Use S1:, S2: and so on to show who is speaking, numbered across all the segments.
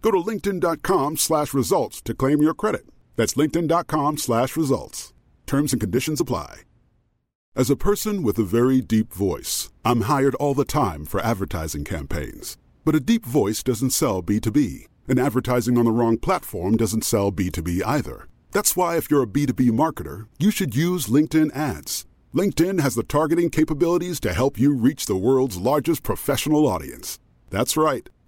S1: Go to linkedin.com slash results to claim your credit. That's linkedin.com slash results. Terms and conditions apply. As a person with a very deep voice, I'm hired all the time for advertising campaigns. But a deep voice doesn't sell B2B, and advertising on the wrong platform doesn't sell B2B either. That's why, if you're a B2B marketer, you should use LinkedIn ads. LinkedIn has the targeting capabilities to help you reach the world's largest professional audience. That's right,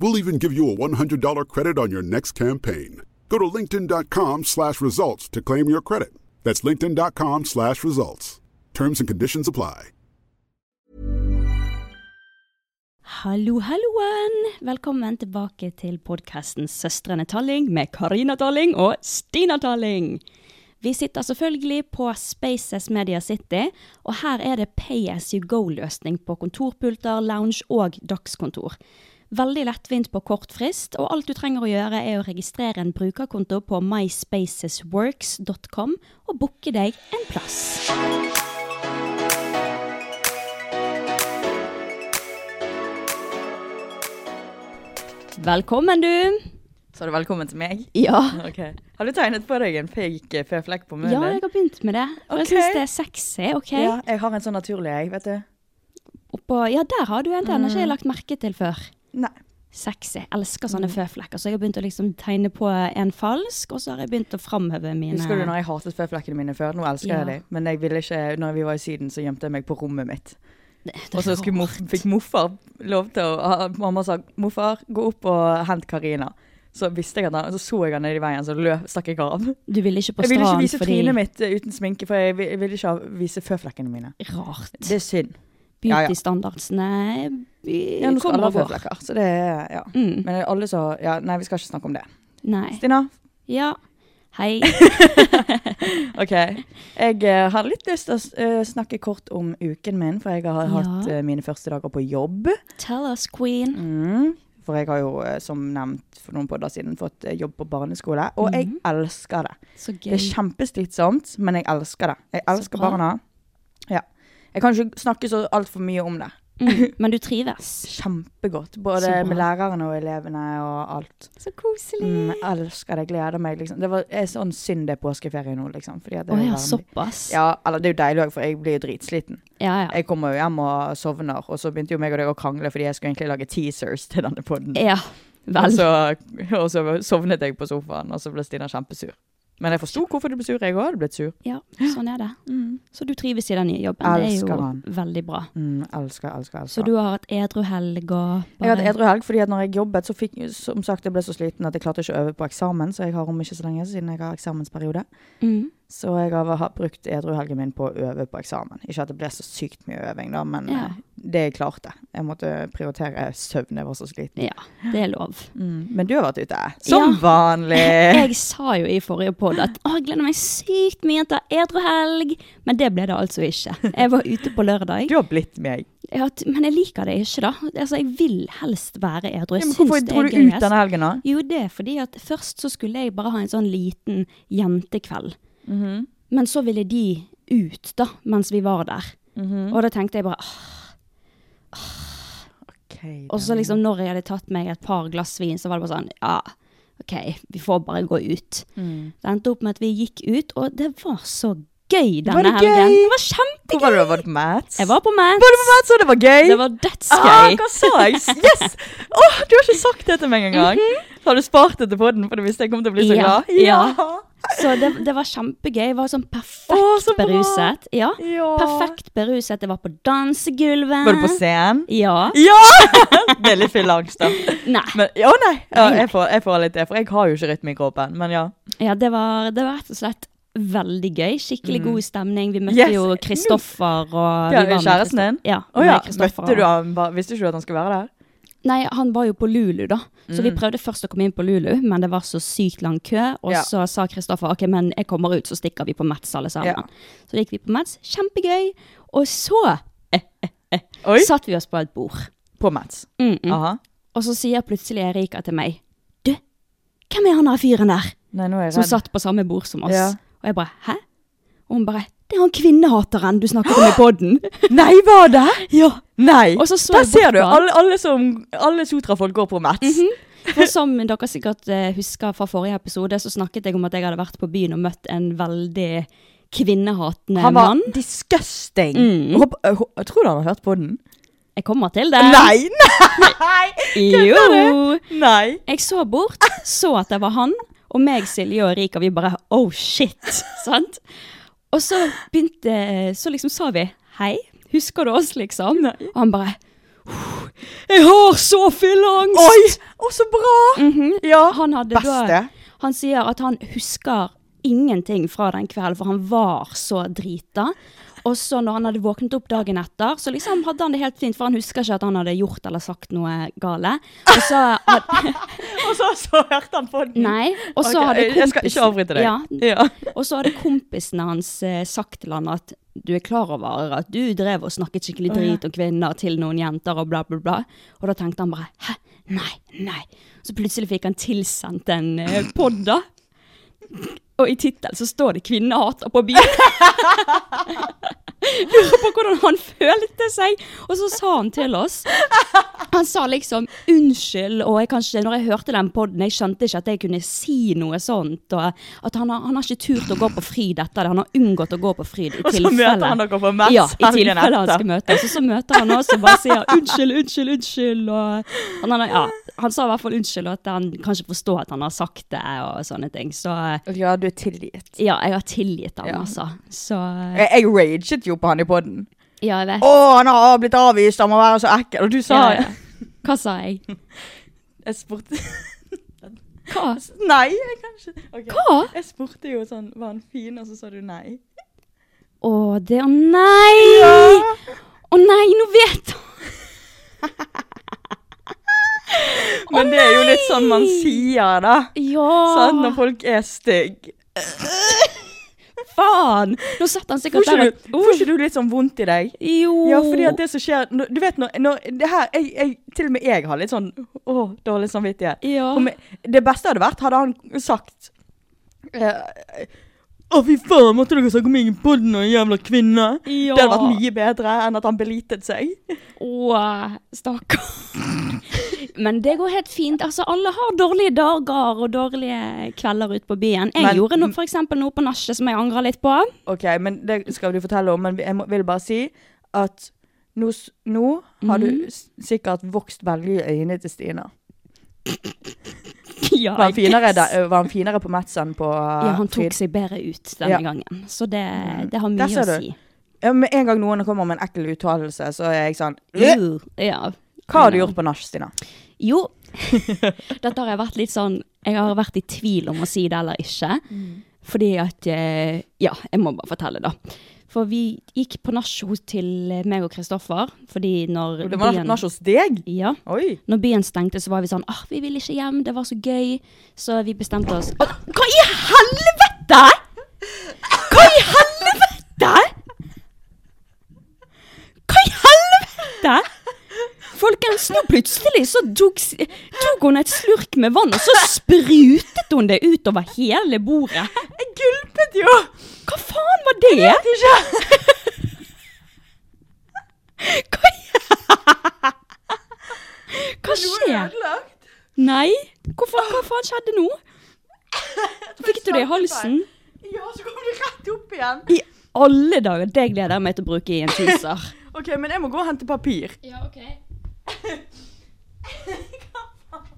S1: We'll even give you a $100 credit on your next campaign. Go to linkedin.com slash results to claim your credit. That's linkedin.com slash results. Terms and conditions apply.
S2: Hallo, halloen! Velkommen tilbake til podkasten Søstrene Talling med Karina Talling og Stina Talling. Vi sitter selvfølgelig på Spaces Media City, og her er det pay as you go-løsning på kontorpulter, lounge og dagskontor. Veldig lettvint på kort frist, og alt du trenger å gjøre er å registrere en brukerkonto på myspacesworks.com og booke deg en plass. Velkommen, du!
S3: Sa du velkommen til meg?
S2: Ja.
S3: Ok. Har du tegnet på deg en fake p-flekk på munnen?
S2: Ja, jeg har begynt med det. Og jeg
S3: Ok.
S2: syns det er sexy. ok?
S3: Ja, jeg har en sånn naturlig, jeg, vet du.
S2: Oppå, ja, der har du en. Den har
S3: Mm.
S2: ikke jeg lagt merke til før.
S3: Nei.
S2: Sexy. Jeg elsker sånne
S3: Mm.
S2: føflekker. Så jeg har begynt å liksom tegne på en falsk, og så har jeg begynt å framheve mine
S3: Husker du når jeg hatet p-flekkene mine før? Nå elsker
S2: Ja.
S3: jeg dem. Men jeg ville ikke, når vi var i Syden, så gjemte jeg meg på rommet mitt.
S2: Det- det er
S3: Og så skulle
S2: rart.
S3: morf- fikk morfar lov til å ha- Mamma sa 'morfar, gå opp og hent Karina'. Så visste jeg at han, så så jeg han nede i veien, så løp, stakk jeg av.
S2: Du ville ikke på
S3: Jeg ville ikke
S2: strand
S3: vise
S2: fordi
S3: trynet mitt eh, uten sminke, for jeg, vi- jeg ville ikke ha- vise føflekkene mine.
S2: Rart.
S3: Det er synd. Ja, ja.
S2: Beautystandardsene
S3: Ja, nå skal
S2: kommer
S3: alle ha
S2: og går.
S3: føflekker, så det er ja.
S2: Mm.
S3: Men alle så Ja, nei, vi skal ikke snakke om det.
S2: Nei.
S3: Stina,
S2: Ja. Hei.
S3: Ok. Jeg eh, har litt lyst til å s- eh, snakke kort om uken min, for jeg har
S2: Ja.
S3: hatt eh, mine første dager på jobb.
S2: Tell us, queen.
S3: Mm. For jeg har jo, eh, som nevnt for noen podder siden, fått eh, jobb på barneskole, og jeg elsker det.
S2: Så
S3: Det
S2: Mm. gøy.
S3: er kjempeslitsomt, men jeg elsker det. Jeg
S2: Så
S3: elsker
S2: bra.
S3: barna. Ja. Jeg kan ikke snakke så altfor mye om det,
S2: Mm. Men du trives.
S3: Kjempegodt.
S2: Så
S3: Både
S2: bra.
S3: med lærerne og elevene og alt.
S2: Så koselig.
S3: Mm, jeg elsker det. Gleder meg, liksom. Det var, er sånn synd det er påskeferie nå, liksom. Fordi at det
S2: Å
S3: er
S2: ja,
S3: varmt.
S2: såpass.
S3: Ja, eller det er jo deilig òg, for jeg blir jo dritsliten.
S2: ja. ja.
S3: Jeg kommer jo hjem og sovner, og så begynte jo meg og deg å krangle fordi jeg skulle egentlig lage teasers til denne poden.
S2: Ja,
S3: Og,
S2: vel.
S3: så- og så sovnet jeg på sofaen, og så ble Stina kjempesur. Men jeg forsto hvorfor du ble sur. Jeg òg hadde blitt sur.
S2: Ja, sånn er det.
S3: Mm.
S2: Så du trives i den nye jobben. det
S3: Elsker
S2: er jo
S3: han.
S2: veldig bra.
S3: Mm, elsker, elsker, elsker.
S2: Så du har hatt edru helg og
S3: Jeg har hatt edru helg fordi at når jeg jobbet, så fikk som sagt, jeg ble så sliten at jeg klarte ikke å øve på eksamen, så jeg har om ikke så lenge siden jeg har eksamensperiode.
S2: Mm.
S3: Så jeg har ha- brukt edruhelgen min på å øve på eksamen. Ikke at det ble så sykt mye øving, da, men
S2: Ja.
S3: eh, det jeg klarte. Jeg måtte prioritere søvn, jeg var så sliten.
S2: Ja, det er lov.
S3: Mm. Men du har vært ute, som
S2: Ja.
S3: vanlig!
S2: Jeg sa jo i forrige podd at å, jeg gleder meg sykt mye til edru helg, men det ble det altså ikke. Jeg var ute på lørdag,
S3: Du har blitt meg.
S2: jeg har t- men jeg liker det ikke, da. Altså, Jeg vil helst være edru. Jeg
S3: Ja, men
S2: syns
S3: hvorfor
S2: det
S3: dro
S2: er altså.
S3: du ut
S2: gøyest.
S3: denne helgen, da?
S2: Jo, det er fordi at først så skulle jeg bare ha en sånn liten jentekveld.
S3: Mhm.
S2: Men så ville de ut, da, mens vi var der.
S3: Mhm.
S2: Og da tenkte jeg bare «Åh»,
S3: Ok,
S2: Og så
S3: da.
S2: liksom når jeg hadde tatt meg et par glass vin, så var det bare sånn Ja, OK, vi får bare gå ut.
S3: Mm.
S2: Det endte opp med at vi gikk ut, og det var så gøy denne
S3: Var det
S2: helgen.
S3: gøy?
S2: Det var
S3: Hvor var
S2: kjempegøy!
S3: du? Var du på Mats?
S2: Jeg var på Mats.
S3: Var du på Mats, og det var gøy?
S2: Det var
S3: Ah,
S2: dødsgøy.
S3: hva sa jeg? Yes! Åh, du har ikke sagt det til meg engang. Har du spart det til podden, for du visste jeg kom til å bli
S2: Mhm.
S3: så
S2: Ja,
S3: glad?
S2: ja. så det, det var kjempegøy. Jeg var sånn perfekt
S3: Å, så bra.
S2: beruset. Ja.
S3: Ja.
S2: Perfekt beruset. Jeg var på dansegulvet.
S3: Var du på scenen?
S2: Ja.
S3: Ja! Det er litt fylleangst, da.
S2: Nei.
S3: Men Å nei! Ja,
S2: Nei, nei.
S3: jeg, får, jeg får litt det, for jeg har jo ikke rytme i kroppen. Men ja.
S2: Ja, det var, det var rett og slett veldig gøy. Skikkelig god stemning. Vi møtte
S3: Mm. Yes.
S2: jo Kristoffer og
S3: Ja,
S2: vi var med
S3: kjæresten din?
S2: Kristoff- Ja.
S3: Å
S2: med
S3: ja,
S2: Kristoffer
S3: møtte du
S2: og-
S3: han? bare- Visste ikke du at han skulle være der?
S2: Nei, han var jo på Lulu, da. Så
S3: Mm.
S2: vi prøvde først å komme inn på Lulu, men det var så sykt lang kø. Og
S3: Ja.
S2: så sa Kristoffer ok, men jeg kommer ut, så stikker vi på Mats alle sammen.
S3: Ja.
S2: Så gikk vi på Mats. Kjempegøy. Og så eh,
S3: Oi!
S2: satt vi oss på et bord.
S3: På Mats.
S2: Mm -mm.
S3: Aha.
S2: Og så sier plutselig Erika til meg Du, hvem er han der fyren der?
S3: Nei, nå er jeg
S2: som
S3: redd.
S2: satt på samme bord som oss.
S3: Ja.
S2: Og jeg bare Hæ? Og hun bare Det er han kvinnehateren du snakket om i podden.
S3: Nei, var det?
S2: ja.
S3: Nei!
S2: Og så så
S3: Der
S2: jeg bort
S3: ser du!
S2: på han.
S3: Alle, alle, som- alle sotrafolk går på Mats.
S2: Mhm. For som dere sikkert eh, husker fra forrige episode, så snakket jeg om at jeg hadde vært på byen og møtt en veldig kvinnehatende
S3: Han var
S2: mann.
S3: disgusting.
S2: Mm.
S3: Jeg håper- jeg hå- jeg tror du han har hørt på den?
S2: Jeg kommer til det.
S3: Nei! Nei!
S2: Jo.
S3: Nei!
S2: Jeg så bort, så at det var han, og meg, Silje og Erika, vi bare oh shit, sant? Og så begynte, så liksom sa vi hei, husker du oss liksom? Og han bare, «Puh, jeg har så fylleangst!
S3: Oi! Å, så bra!
S2: Mm.
S3: Mhm, Ja.
S2: Han hadde da,
S3: Beste.
S2: han sier at han husker ingenting fra den kvelden, for han var så drita. Og så når han hadde våknet opp dagen etter, så liksom hadde han det helt fint, for han husker ikke at han hadde gjort eller sagt noe gale. Og så hadde,
S3: Og så, så hørte han på den.
S2: Nei. Og så
S3: Ok,
S2: hadde kompisen
S3: Jeg skal ikke avbryte deg.
S2: Ja,
S3: Ja.
S2: og så hadde kompisene hans eh, sagt til han at du er klar over at du drev og snakket skikkelig drit om kvinner til noen jenter og bla, bla, bla. Og da tenkte han bare hæ, nei, nei. Så plutselig fikk han tilsendt en eh, podd, da. Og i tittelen så står det 'Kvinnehater på bilen'. Lurer på hvordan han følte seg. Og så sa han til oss han sa liksom 'unnskyld', og jeg kanskje, når jeg hørte den podden, jeg skjønte ikke at jeg kunne si noe sånt. Og at han har, han har ikke turt å gå på fryd etter det. Han har unngått å gå på fryd i
S3: Og så
S2: tilfelle.
S3: møter han dere på Mats
S2: Ja, i
S3: helgen
S2: tilfelle han
S3: etter.
S2: skal møte oss. Og så møter han oss og bare sier 'unnskyld, unnskyld, unnskyld'. Og han, han, ja, han sa i hvert fall unnskyld, og at han kan ikke forstå at han har sagt det, og sånne ting. Så
S3: Ja, du er tilgitt.
S2: ja, jeg har tilgitt ham,
S3: Ja. Eh,
S2: altså. Så
S3: Jeg, jeg raget jo på han i poden.
S2: Ja, jeg vet.
S3: Å, han har blitt avvist, han må være så ekkel. Og du sa
S2: Ja, ja. Hva sa jeg?
S3: Jeg spurte
S2: Hva?
S3: Nei, jeg kan ikke Ok.
S2: Hva?
S3: Jeg spurte jo sånn Var han fin? Og så sa du nei.
S2: Å, det Å nei! Å nei, nå vet han!
S3: Men det er jo litt sånn man sier, da.
S2: Ja!
S3: Sant? Når folk er stygge.
S2: faen! Nå satt han sikkert der
S3: Får ikke
S2: og
S3: du- får ikke du litt sånn vondt i deg?
S2: Jo.
S3: Ja, fordi at det som skjer når- Du vet når, når det her, jeg, jeg, Til og med jeg har litt sånn Åh, dårlig samvittighet.
S2: Ja.
S3: Om jeg- det beste hadde vært, hadde han sagt eh, Å, fy faen, måtte dere snakke om ingen podden og en jævla kvinne?
S2: Ja.
S3: Det hadde vært mye bedre enn at han belitet seg.
S2: Åh, stakkar. Men det går helt fint. Altså, alle har dårlige dager og dårlige kvelder ute på byen. Jeg
S3: Men-
S2: gjorde no, for eksempel noe på nachspiel som jeg angrer litt på.
S3: Ok, men det skal du fortelle om, men jeg må, vil bare si at nå, s- nå har du s- sikkert vokst veldig i øynene til Stina.
S2: Ja,
S3: Var han
S2: jeg-
S3: finere, der, var han finere på Metz enn på eh,
S2: Ja, han tok
S3: Frid?
S2: seg bedre ut denne
S3: Ja.
S2: gangen, så det, det har
S3: Der
S2: mye
S3: ser
S2: å
S3: du.
S2: si.
S3: Ja, Med en gang noen kommer med en ekkel uttalelse, så er jeg sånn «Øh,
S2: Uh, ja.
S3: Hva har du gjort på nach, Stina?
S2: Jo, dette har jeg vært litt sånn Jeg har vært i tvil om å si det eller ikke.
S3: Mm.
S2: Fordi at eh, Ja, jeg må bare fortelle, da. For vi gikk på nachspiel til meg og Kristoffer, fordi når
S3: Det var nach- nach hos deg?
S2: ja,
S3: Oi.
S2: når byen stengte, så var vi sånn Åh, vi vil ikke hjem, det var så gøy. Så vi bestemte oss Åh, Hva i helvete?! Hva i helvete?! Hva i helvete?! Folkens, nå plutselig så tok, s- tok hun et slurk med vann, og så sprutet hun det utover hele bordet.
S3: Jeg gulpet jo!
S2: Hva faen var det? Jeg vet ikke. Hva i- Hva skjer? Nei? Hvorfor, hva faen skjedde nå? Fikk du det i halsen?
S3: Ja, så kom det rett opp igjen.
S2: I alle dager! Det gleder jeg meg til å bruke i en teaser.
S3: OK, men jeg må gå og hente papir.
S2: Ja, ok.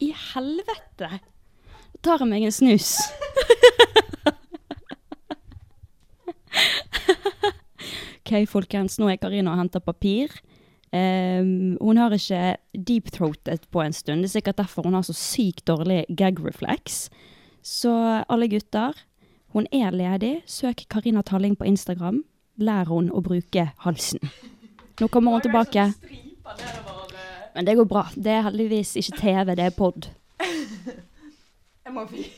S2: I helvete! Da tar jeg meg en snus. OK, folkens. Nå er Karina og henter papir. Ehm, hun har ikke deep-throatet på en stund. Det er sikkert derfor hun har så sykt dårlig gag reflex. Så alle gutter, hun er ledig. Søk Karina Talling på Instagram. Lær hun å bruke halsen. Nå sånn kommer hun tilbake. Men det går bra. Det er heldigvis ikke TV, det er pod.
S3: Jeg må, fik-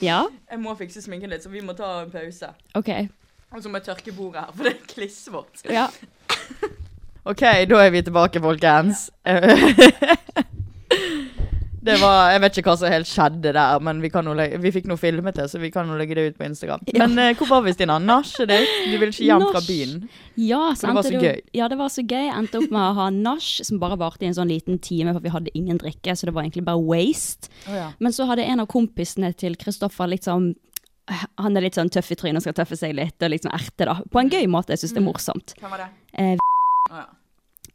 S2: Ja?
S3: jeg må fikse sminken litt, så vi må ta en pause.
S2: OK.
S3: Og så må jeg tørke bordet her, for det er klissvått.
S2: Ja.
S3: OK, da er vi tilbake, folkens. det var Jeg vet ikke hva som helt skjedde der, men vi, kan jo legge, vi fikk noe filmet det, så vi kan jo legge det ut på Instagram. Men eh, hvor var vi, Stina? Nachet ditt? Du ville ikke hjem fra
S2: Nach.
S3: byen?
S2: Ja, så
S3: det var
S2: endte
S3: så
S2: det jo-
S3: gøy.
S2: Ja, det var så gøy. Endte opp med å ha nach, som bare varte i en sånn liten time, for vi hadde ingen drikke, så det var egentlig bare waste. Men så hadde en av kompisene til Kristoffer litt sånn Han er litt sånn tøff i trynet og skal tøffe seg litt, og liksom erte, da. På en gøy måte. Jeg syns det er
S3: Mm.
S2: morsomt.
S3: Hvem var det?
S2: Eh,
S3: Å, ja.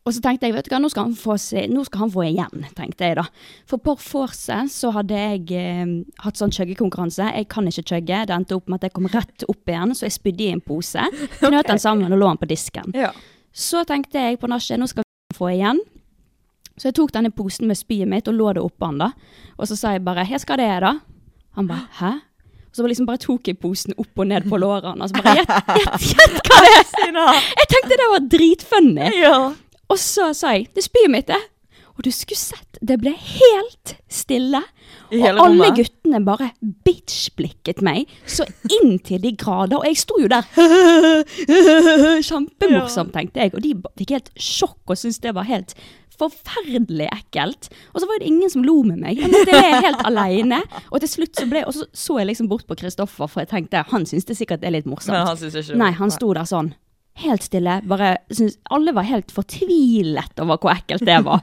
S2: Og så tenkte jeg, vet du hva, nå skal han få, se, nå skal han få igjen, tenkte jeg da. For på vorset så hadde jeg eh, hatt sånn chuggekonkurranse. Jeg kan ikke chugge. Det endte opp med at jeg kom rett opp igjen, så jeg spydde i en pose. Knøt den sammen og lå den på disken.
S3: Ja.
S2: Så tenkte jeg på nachspiel, nå skal vi få igjen. Så jeg tok denne posen med spyet mitt og lå det oppå han da. Og så sa jeg bare 'Jeg skal det, jeg, da'. Han bare 'Hæ?' Og så bare liksom bare tok jeg posen opp og ned på lårene. Og så bare 'Gjett gjett- gjett hva det er!' Jeg tenkte det var dritfunny. Og så sa jeg 'Det er spyet mitt, det'. Og du skulle sett, det ble helt stille.
S3: I
S2: Og
S3: hele
S2: alle
S3: rommet?
S2: guttene bare bitch-blikket meg så inntil de grader. Og jeg sto jo der Kjempemorsomt, tenkte jeg. Og de ba- fikk helt sjokk og syntes det var helt forferdelig ekkelt. Og så var det ingen som lo med meg. Jeg måtte le helt aleine. Og til slutt så ble Og så så jeg liksom bort på Kristoffer, for jeg tenkte han syns det sikkert er litt morsomt.
S3: Men han synes ikke det var-
S2: Nei, han sto der sånn. Helt stille. bare synes, Alle var helt fortvilet over hvor ekkelt det var.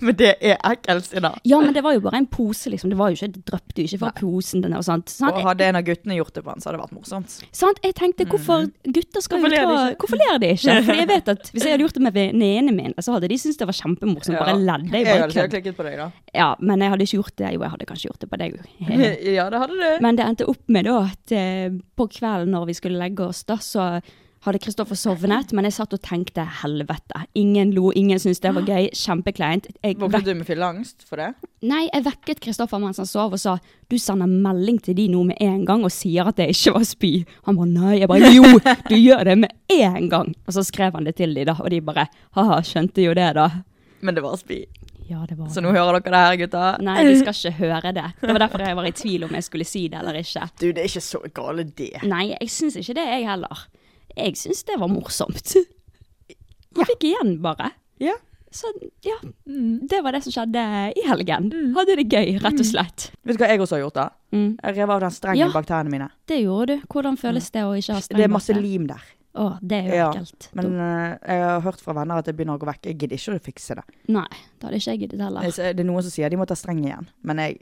S3: Men det er ekkelt, Stina.
S2: Ja, men det var jo bare en pose, liksom. Det var jo ikke, det drøpte jo ikke fra posen. Den, og sånt. Sant?
S3: Og hadde en av guttene gjort det på han, så hadde det vært morsomt.
S2: Sant? Jeg tenkte, Mm. hvorfor gutter skal
S3: Hvorfor
S2: jo
S3: ler de
S2: ta
S3: ikke?
S2: Hvorfor ler de ikke? For jeg vet at hvis jeg hadde gjort det med venninnene mine, så hadde de syntes det var kjempemorsomt. Bare ledde jeg bare
S3: hadde sikkert
S2: kødd.
S3: klikket på deg, da.
S2: Ja, men jeg hadde ikke gjort det. Jo, jeg hadde kanskje gjort det på deg òg.
S3: Ja, det hadde du.
S2: Men det endte opp med da at eh, på kvelden når vi skulle legge oss, da så hadde Kristoffer sovnet, men jeg satt og tenkte helvete. Ingen lo, ingen syntes det var gøy. Kjempekleint. Jeg
S3: Våknet du med fylleangst for det?
S2: Nei, jeg vekket Kristoffer mens han sov og sa du sender melding til de nå med en gang og sier at det ikke var spy. Han bare nei. Jeg bare jo, du gjør det med en gang. Og så skrev han det til de da, og de bare ha-ha, skjønte jo det da.
S3: Men det var spy.
S2: Ja, det var
S3: Så nå hører dere det her, gutta.
S2: Nei, de skal ikke høre det. Det var derfor jeg var i tvil om jeg skulle si det eller ikke.
S3: Du, det er ikke så gale, det.
S2: Nei, jeg syns ikke det, jeg heller. Jeg syns det var morsomt. Jeg fikk igjen, bare.
S3: Ja.
S2: Så ja, det var det som skjedde i helgen. Hadde det gøy, rett og slett.
S3: Vet du hva jeg også har gjort da?
S2: Mm.
S3: Jeg rev av den strengen
S2: Ja.
S3: bak tærne mine.
S2: Det gjorde du. Hvordan føles det å ikke ha streng
S3: Det er masse
S2: bakke?
S3: lim der.
S2: Å, det er jo
S3: Ja,
S2: ekkelt.
S3: Men eh, jeg har hørt fra venner at det begynner å gå vekk. Jeg gidder ikke å fikse det.
S2: Nei, det hadde ikke jeg giddet heller.
S3: Jeg ser- Det er noen som sier de må ta streng igjen, men jeg,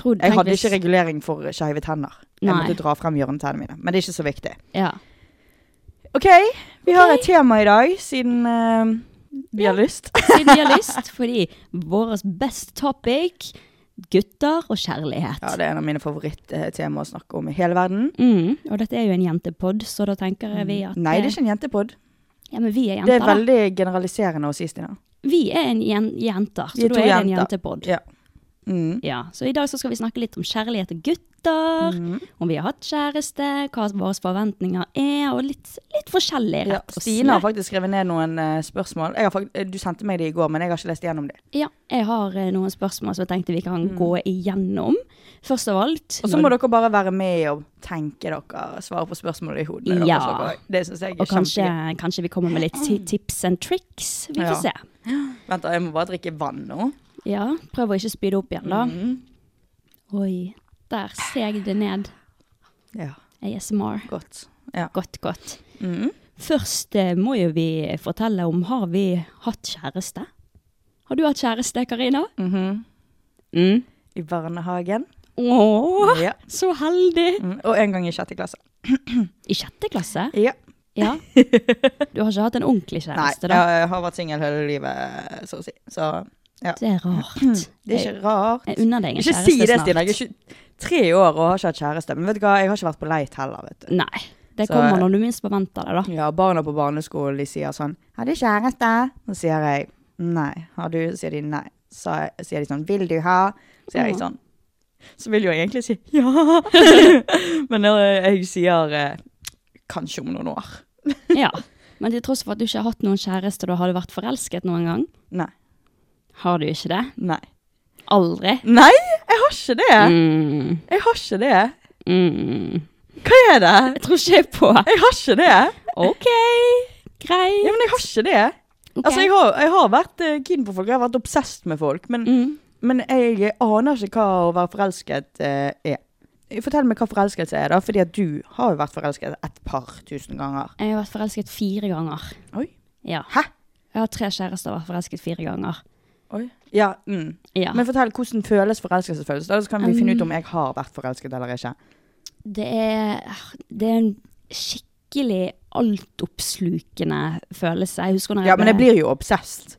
S2: Tror-
S3: jeg
S2: tenk
S3: hadde
S2: hvis-
S3: ikke regulering for skeive tenner. Jeg
S2: Nei.
S3: måtte dra frem hjørnetennene mine, men det er ikke så viktig.
S2: Ja.
S3: OK, vi har et tema i dag siden eh, vi har lyst.
S2: Siden vi har lyst, fordi våres best topic gutter og kjærlighet.
S3: Ja, det er en av mine favorittemaer å snakke om i hele verden.
S2: Mm, og dette er jo en jentepod, så da tenker vi at eh,
S3: Mm. Nei, det er ikke en jentepod.
S2: Ja, men vi er jenter,
S3: Det er
S2: da.
S3: veldig generaliserende å si, Stina.
S2: Vi er en jen jenter, så
S3: Vi er
S2: da er
S3: to
S2: det en
S3: jenter.
S2: jentepod.
S3: Ja. Mm.
S2: Ja, så i dag så skal vi snakke litt om kjærlighet og gutter,
S3: Mm.
S2: om vi har hatt kjæreste, hva våre forventninger er, og litt, litt forskjellig,
S3: Ja,
S2: rett og
S3: Stine har
S2: slett.
S3: faktisk skrevet ned noen eh, spørsmål. Jeg har fakt eh, du sendte meg de i går, men jeg har ikke lest gjennom de.
S2: Ja, jeg har eh, noen spørsmål som jeg tenkte vi kan gå igjennom. Først av alt
S3: Mm. Og så må dere bare være med og tenke dere, svare på spørsmålet i hodet.
S2: Ja.
S3: Deres, dere. det syns jeg er
S2: Og kanskje,
S3: kjempegøy.
S2: kanskje vi kommer med litt ti- tips and tricks. Vi får se.
S3: Ja. Vent, da, jeg må bare drikke vann nå.
S2: Ja, prøv å ikke spy det opp igjen, da.
S3: Mm.
S2: Oi. Der seg det ned.
S3: Ja,
S2: ASMR.
S3: godt. Ja.
S2: Godt, godt.
S3: Mm.
S2: Først eh, må jo vi fortelle om har vi hatt kjæreste? Har du hatt kjæreste, Karina?
S3: Mhm.
S2: Mm.
S3: I barnehagen.
S2: Åh,
S3: Ja.
S2: så heldig!
S3: Mm. Og en gang i sjette klasse.
S2: I sjette klasse?
S3: Ja.
S2: Ja. Du har ikke hatt en ordentlig
S3: Nei,
S2: kjæreste, da?
S3: jeg har vært singel hele livet, så å si. Så ja.
S2: Det er rart.
S3: Mm, Det er ikke rart.
S2: Jeg unner deg en
S3: Ikke
S2: kjæreste
S3: si det,
S2: snart.
S3: Stina. Jeg er 23 år og har ikke hatt kjæreste. Men vet du hva, jeg har ikke vært på leit heller, vet du.
S2: Nei. Det
S3: Så-
S2: kommer når du minst forventer det, da.
S3: Ja, barna på barneskolen, de sier sånn 'Har du kjæreste?' Så sier jeg nei. Har du? Så sier de nei. Så sier de sånn 'Vil du ha?' Så sier jeg
S2: Ja.
S3: sånn. Så vil jo jeg egentlig si ja. Men når jeg sier eh, kanskje om noen år.
S2: Ja. Men til tross for at du ikke har hatt noen kjæreste, da har du vært forelsket noen gang?
S3: Nei.
S2: Har du ikke det?
S3: Nei.
S2: Aldri?
S3: Nei, jeg har ikke det.
S2: Mm,
S3: Jeg har ikke det.
S2: mm.
S3: Hva er det?
S2: Jeg tror ikke jeg på.
S3: Jeg har ikke det.
S2: OK, greit.
S3: Ja, men jeg har ikke det.
S2: Ok.
S3: Altså, jeg har, jeg har vært eh, keen på folk, jeg har vært obsesst med folk, men,
S2: Mm.
S3: men jeg aner ikke hva å være forelsket eh, er. Fortell meg hva forelskelse er, da, fordi at du har jo vært forelsket et par tusen ganger.
S2: Jeg har vært forelsket fire ganger.
S3: Oi.
S2: Ja.
S3: Hæ?
S2: Jeg har tre kjærester og vært forelsket fire ganger.
S3: Ja, mm.
S2: Ja.
S3: Men fortell hvordan føles forelskelsesfølelse, da så kan vi finne ut om jeg har vært forelsket eller ikke.
S2: Det er, det er en skikkelig altoppslukende følelse. Jeg husker når jeg
S3: Ja, men jeg blir jo obsesst.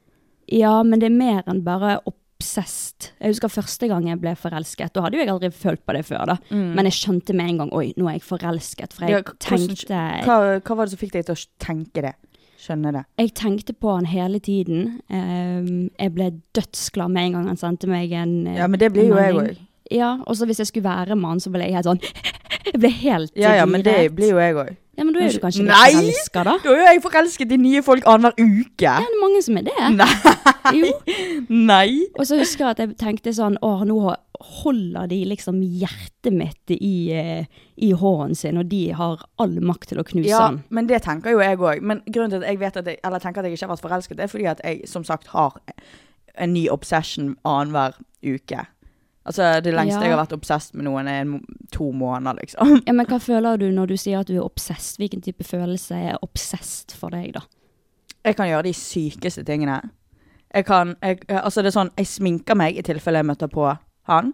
S2: Ja, men det er mer enn bare obsesst. Jeg husker første gang jeg ble forelsket. Da hadde jo jeg aldri følt på det før, da. Men jeg skjønte med en gang Oi, nå er jeg forelsket. For jeg
S3: Mm. Ja, k- hvordan-
S2: tenkte
S3: Hva, hva var det som fikk deg til å tenke det? Skjønne det?
S2: Jeg tenkte på han hele tiden. Ehm, jeg ble dødsglad med en gang han sendte meg en eh,
S3: Ja, men det blir
S2: en
S3: jo jeg
S2: melding.
S3: også.
S2: Ja, og så hvis jeg skulle være med han, så ble jeg helt sånn Jeg ble helt
S3: Ja, ja, men det
S2: forvirret.
S3: blir jo jeg òg.
S2: Ja, men da er du kanskje litt
S3: Nei!
S2: forelska, da?
S3: Da er jo jeg forelsket i nye folk annenhver uke.
S2: Ja, det er mange som er det. Jo.
S3: Nei.
S2: Og så husker jeg at jeg tenkte sånn Åh, nå holder de liksom hjertet mitt i, eh, i hånden sin, og de har all makt til å knuse
S3: Ja,
S2: han.
S3: men det tenker jo jeg òg. Men grunnen til at jeg vet at jeg, eller tenker at jeg ikke har vært forelsket, er fordi at jeg som sagt har en ny obsession annenhver uke. Altså Det lengste
S2: Ja.
S3: jeg har vært obsesst med noen, er en, må- to måneder, liksom.
S2: Ja, men hva føler du når du sier at du er obsesst? Hvilken type følelse er obsesst for deg, da?
S3: Jeg kan gjøre de sykeste tingene. Jeg kan jeg, Altså, det er sånn Jeg sminker meg i tilfelle jeg møter på han,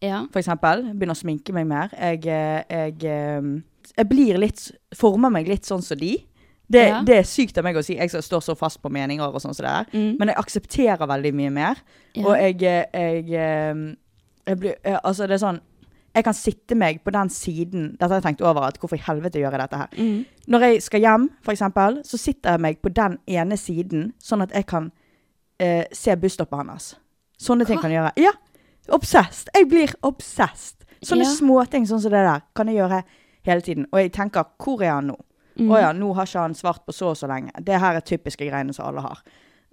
S2: Ja.
S3: for eksempel. Begynner å sminke meg mer. Jeg, eh, jeg, eh, jeg blir litt Former meg litt sånn som de. Det,
S2: Ja.
S3: det er sykt av meg å si. Jeg som står så fast på meninger og sånn som det er.
S2: Mm.
S3: Men jeg aksepterer veldig mye mer.
S2: Ja.
S3: Og jeg, eh, jeg, jeg, jeg blir jeg, Altså, det er sånn Jeg kan sitte meg på den siden Dette har jeg tenkt over. at Hvorfor i helvete gjør jeg dette her?
S2: Mm.
S3: Når jeg skal hjem, for eksempel, så sitter jeg meg på den ene siden, sånn at jeg kan eh, se busstoppet hans. Sånne ting
S2: Hva?
S3: kan jeg gjøre. Ja! Obsesst. Jeg blir obsesst. Sånne
S2: Ja.
S3: småting sånn som det der kan jeg gjøre hele tiden. Og jeg tenker, hvor er han nå?
S2: Mm.
S3: Å ja, nå har ikke han svart på så og så lenge. Det her er typiske greiene som alle har.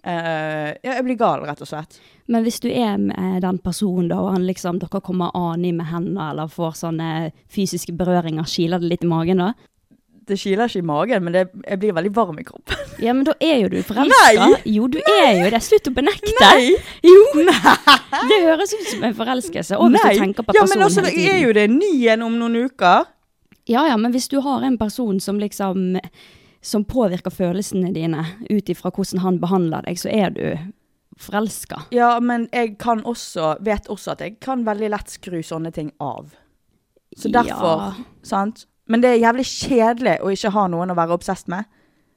S3: Eh, ja, jeg blir gal, rett og slett.
S2: Men hvis du er med den personen, da, og han liksom, dere eh, kommer ani med hendene, eller får sånne fysiske berøringer, kiler det litt i magen, da?
S3: Det kiler ikke i magen, men det, jeg blir veldig varm i kroppen.
S2: Ja, men da er jo du forelska.
S3: Nei!
S2: Jo, du er jo det. Slutt å benekte. Jo. Det høres ut som en forelskelse. Og hvis
S3: Nei.
S2: du tenker på
S3: ja,
S2: personen
S3: men også,
S2: hele
S3: det er
S2: tiden.
S3: jo det ny igjen om noen uker.
S2: Ja, ja, men hvis du har en person som liksom Som påvirker følelsene dine ut ifra hvordan han behandler deg, så er du forelska.
S3: Ja, men jeg kan også, vet også at jeg kan veldig lett skru sånne ting av. Så derfor,
S2: Ja,
S3: sant? Men det er jævlig kjedelig å ikke ha noen å være obsesst med.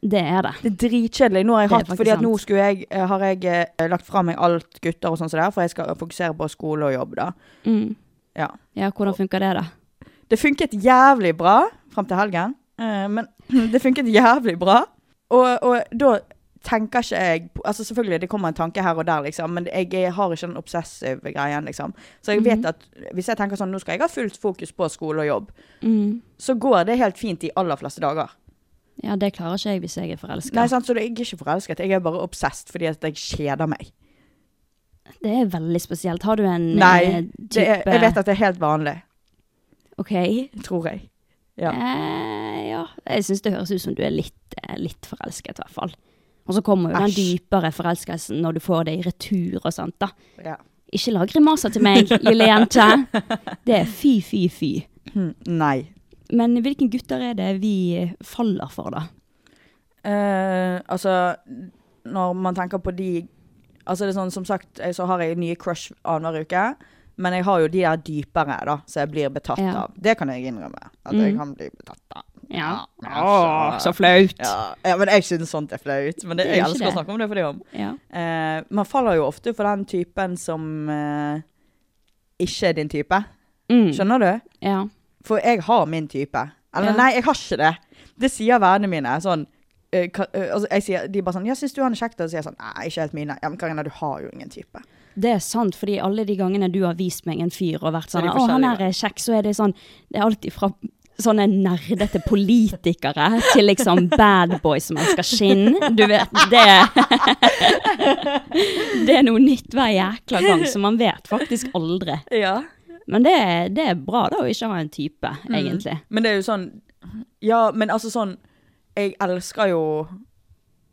S2: det er det.
S3: Det er dritkjedelig. Nå har jeg
S2: Det er
S3: hatt,
S2: faktisk
S3: fordi at
S2: sant.
S3: nå skulle jeg, eh, har jeg eh, lagt fra meg alt gutter og sånn som det er, for jeg skal fokusere på skole og jobb da.
S2: Mm.
S3: Ja.
S2: Ja, hvordan funker det, da?
S3: Det funket jævlig bra frem til helgen, eh, men det funket jævlig bra. Og, og da tenker ikke jeg, på- altså selvfølgelig det kommer en tanke her og der liksom, men jeg, jeg har ikke den obsessive greien liksom. Så jeg vet
S2: Mhm.
S3: at hvis jeg tenker sånn, nå skal jeg ha fullt fokus på skole og jobb,
S2: Mm.
S3: så går det helt fint de aller fleste dager.
S2: Ja, det klarer ikke jeg hvis jeg er forelska.
S3: Nei, sant? Så jeg er ikke forelsket, jeg er bare obsesst fordi at jeg kjeder meg.
S2: Det er veldig spesielt. Har du en
S3: Nei,
S2: eh,
S3: Det
S2: type
S3: er, jeg vet at det er helt vanlig,
S2: OK.
S3: tror jeg. Ja.
S2: Eh, ja. Jeg syns det høres ut som du er litt, eh, litt forelsket, i hvert fall. Og så kommer jo den
S3: Æsj.
S2: dypere forelskelsen når du får det i retur og sånt, da.
S3: ja.
S2: Ikke lag grimaser til meg, lille jente. Det er fy, fy, fy.
S3: Hm, Nei.
S2: Men hvilke gutter er det vi faller for, da?
S3: Eh, altså, når man tenker på de Altså det er sånn, Som sagt eh, så har jeg nye crush annenhver uke. Men jeg har jo de der dypere, da, som jeg blir betatt
S2: Ja.
S3: av. Det kan jeg innrømme. At jeg
S2: Mm.
S3: kan bli betatt av.
S2: Ja.
S3: Åh, så
S2: flaut.
S3: Ja, ja Men jeg syns sånt er flaut. Men det,
S2: Det er
S3: jeg
S2: ikke
S3: elsker
S2: det.
S3: å snakke om det for det om.
S2: Ja.
S3: Eh, man faller jo ofte for den typen som eh, ikke er din type.
S2: Mm.
S3: Skjønner du?
S2: Ja.
S3: For jeg har min type. Eller
S2: Ja.
S3: nei, jeg har ikke det. Det sier vennene mine. sånn, eh, ka- eh, altså, jeg sier, de bare sånn 'Ja, syns du han er kjekk?' da?» Og så sier jeg sånn 'Nei, ikke helt mine'. Ja, men Karina, du har jo ingen type.
S2: Det er sant, fordi alle de gangene du har vist meg en fyr og vært
S3: Så
S2: sånn
S3: er de
S2: Å, han
S3: forskjellige.
S2: her er kjekk, så er det sånn Det er alltid fra sånne nerdete politikere til liksom bad boys som elsker skinn. Du vet, det Det er noe nytt hver jækla gang, så man vet faktisk aldri.
S3: Ja.
S2: Men det, er- det er bra da å ikke ha en type,
S3: Mm.
S2: egentlig.
S3: Men det er jo sånn Ja, men altså sånn Jeg elsker jo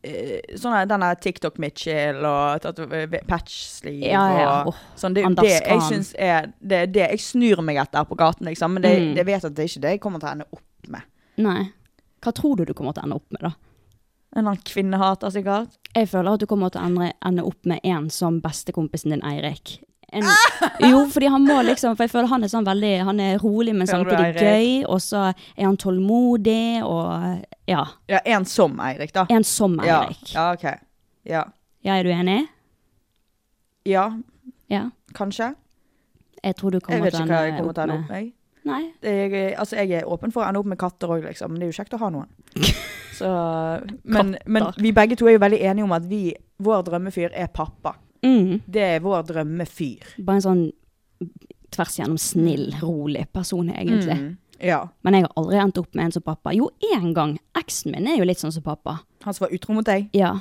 S3: eh, Sånne, denne TikTok-Mitchell og tatu- eh, patch-sleeve
S2: Ja, ja.
S3: og
S2: Åh,
S3: sånn. Det er jo
S2: Anders
S3: det jeg
S2: Khan.
S3: syns er Det er det jeg snur meg etter på gaten, liksom. Men det,
S2: Mm.
S3: jeg vet at det er ikke det jeg kommer til å ende opp med.
S2: Nei. Hva tror du du kommer til å ende opp med, da?
S3: En eller annen kvinnehater, sikkert.
S2: Jeg føler at du kommer til å endre, ende opp med en som bestekompisen din, Eirik. En, jo, fordi han må liksom For jeg føler han er sånn veldig Han er rolig, men
S3: Hører du,
S2: samtidig gøy. Og så er han tålmodig, og ja.
S3: Ja, en som Eirik, da.
S2: En som
S3: Ja,
S2: Eirik. Ja.
S3: ja ok. Ja.
S2: er du enig?
S3: ja,
S2: Ja.
S3: kanskje.
S2: Jeg tror du
S3: Jeg
S2: kommer
S3: vet
S2: til
S3: ikke
S2: å
S3: hva jeg
S2: ende
S3: kommer
S2: opp
S3: til å ende opp
S2: med
S3: med.
S2: Nei.
S3: Jeg, er- altså, jeg er åpen for å ende opp med katter òg, liksom. Men det er jo kjekt å ha noen. Så, men, men vi begge to er jo veldig enige om at vi, vår drømmefyr er pappa.
S2: Mm.
S3: Det er vår drømmefyr.
S2: Bare en sånn tvers gjennom snill, rolig person, egentlig.
S3: Mm. Ja.
S2: Men jeg har aldri endt opp med en som pappa. Jo, én gang. Eksen min er jo litt sånn som pappa.
S3: Han som var utro mot deg?
S2: Ja.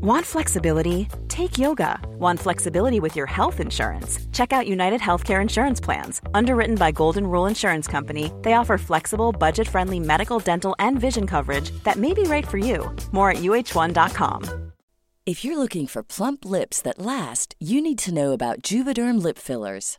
S4: Want flexibility? Take yoga. Want flexibility with your health insurance? Check out United Healthcare Insurance Plans. Underwritten by Golden Rule Insurance Company, they offer flexible, budget friendly medical, dental, and vision coverage that may be right for you. More at uh1.com.
S5: If you're looking for plump lips that last, you need to know about Juvederm lip fillers.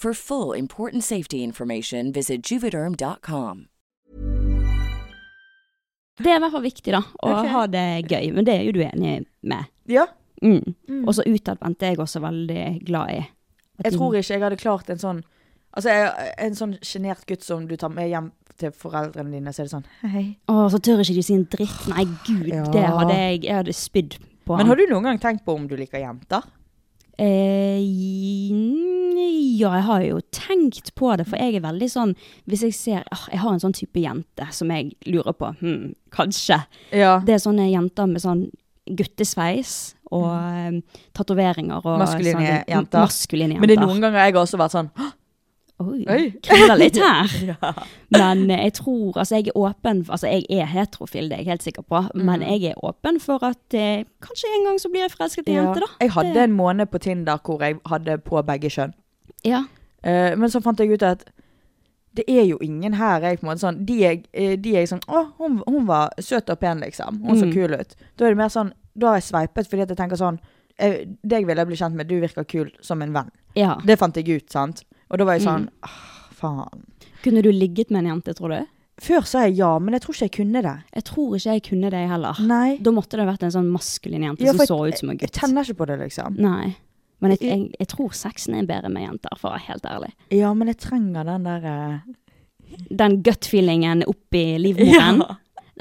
S5: For full important safety information, visit juvederm.com.
S2: Det er i hvert fall viktig, da. Å
S3: Ok.
S2: ha det gøy. Men det er jo du enig med.
S3: Ja.
S2: Mm. Og så utadvendt er jeg også veldig glad i. At
S3: Jeg
S2: de-
S3: tror ikke jeg hadde klart en sånn Altså, jeg, en sånn sjenert gutt som du tar med hjem til foreldrene dine, så er det sånn Hei.
S2: Å, så tør ikke de si en dritt. Nei, gud, det
S3: Ja.
S2: hadde jeg Jeg hadde spydd på han.
S3: Men har du noen gang tenkt på om du liker jenter?
S2: Eh, i- ja, jeg har jo tenkt på det, for jeg er veldig sånn Hvis jeg ser «Åh, Jeg har en sånn type jente som jeg lurer på. Hm, kanskje.
S3: Ja.
S2: Det er sånne jenter med sånn guttesveis og mm. tatoveringer og
S3: Maskuline
S2: sånne- Mm,
S3: jenter.
S2: maskuline jenter.
S3: Men det er noen ganger jeg har også vært sånn «Hå!»
S2: Oi,
S3: Oi.
S2: kribler litt her. Men eh, jeg tror Altså, jeg er åpen Altså, jeg er heterofil, det er jeg helt sikker på, men
S3: Mm.
S2: jeg er åpen for at eh, kanskje en gang så blir jeg forelsket i en jente, da.
S3: Jeg hadde
S2: det,
S3: en måned på Tinder hvor jeg hadde på begge kjønn.
S2: Ja.
S3: Eh, men så fant jeg ut at det er jo ingen her jeg på en måte sånn De jeg, eh, de jeg sånn Å, hun, hun var søt og pen, liksom. Hun så
S2: Mm.
S3: kul ut. Da er det mer sånn Da har jeg sveipet fordi at jeg tenker sånn eh, Deg vil jeg bli kjent med. Du virker kul som en venn.
S2: ja.
S3: Det fant jeg ut, sant. Og da var jeg sånn
S2: Mm.
S3: «Ah, Faen.
S2: Kunne du ligget med en jente, tror du?
S3: Før sa jeg ja, men jeg tror ikke jeg kunne det.
S2: Jeg tror ikke jeg kunne det heller.
S3: Nei.
S2: Da måtte det ha vært en sånn maskulin jente
S3: Ja,
S2: som
S3: for
S2: Ah, så ut som en
S3: Jeg
S2: gutt.
S3: tenner ikke på det, liksom.
S2: Nei. Men jeg, jeg, jeg tror sexen er bedre med jenter, for å være helt ærlig.
S3: Ja, men jeg trenger den der eh,
S2: Den gut feelingen oppi livmoren.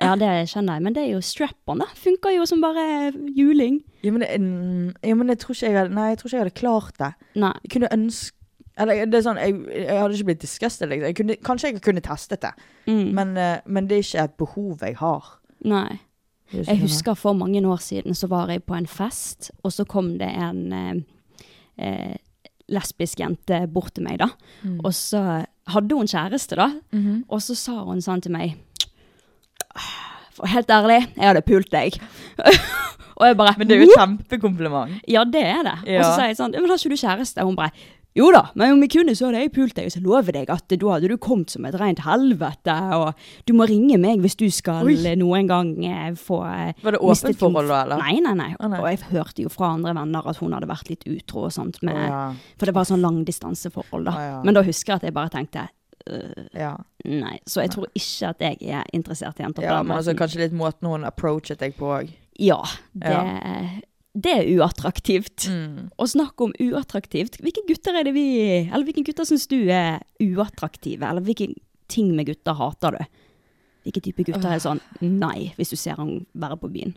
S2: Ja. det skjønner jeg. Men det er jo strap-on, da. Funker jo som bare juling.
S3: ja, men, jeg- mm, ja, men jeg tror ikke jeg hadde Nei, jeg tror ikke jeg hadde klart det.
S2: Nei.
S3: Jeg kunne ønske Eller det er sånn, jeg, jeg hadde ikke blitt disgusted. Liksom. Jeg kunne, kanskje jeg kunne testet det,
S2: Mm.
S3: men, eh, men det er ikke et behov jeg har.
S2: Nei. Jeg husker for mange år siden så var jeg på en fest, og så kom det en eh, eh, lesbisk jente bort til meg, da.
S3: Mm.
S2: Og så hadde hun kjæreste, da.
S3: Mhm.
S2: Og så sa hun sånn til meg "Ah, For helt ærlig, jeg hadde pult deg. og jeg bare
S3: Men det er jo et kjempekompliment.
S2: Ja, det er det. Og så
S3: Ja.
S2: sa jeg sånn, «Ja, men har ikke du kjæreste? Og hun bare, jo da, men om vi kunne så hadde jeg pult deg, og så lover jeg deg at da hadde du kommet som et rent helvete, og du må ringe meg hvis du skal eh, noen gang eh, få... eh,
S3: Var det
S2: mistet
S3: åpent
S2: din-
S3: forhold da, eller?
S2: Nei, nei, nei.
S3: Å, nei.
S2: Og jeg hørte jo fra andre venner at hun hadde vært litt utro og sånt, med,
S3: Å, ja.
S2: for det var sånn langdistanseforhold da.
S3: Å, ja.
S2: Men da husker jeg at jeg bare tenkte, «Øh,
S3: Ja,
S2: nei, så jeg tror ikke at jeg er interessert i jenter på
S3: ja
S2: den
S3: men altså
S2: måten.
S3: kanskje litt måten hun approachet deg på òg.
S2: Ja, det, det er uattraktivt.
S3: Mm.
S2: Og snakk om uattraktivt. Hvilke gutter er det vi Eller hvilke gutter syns du er uattraktive? Eller hvilke ting med gutter hater du? Hvilke type gutter er sånn nei, hvis du ser han være på byen?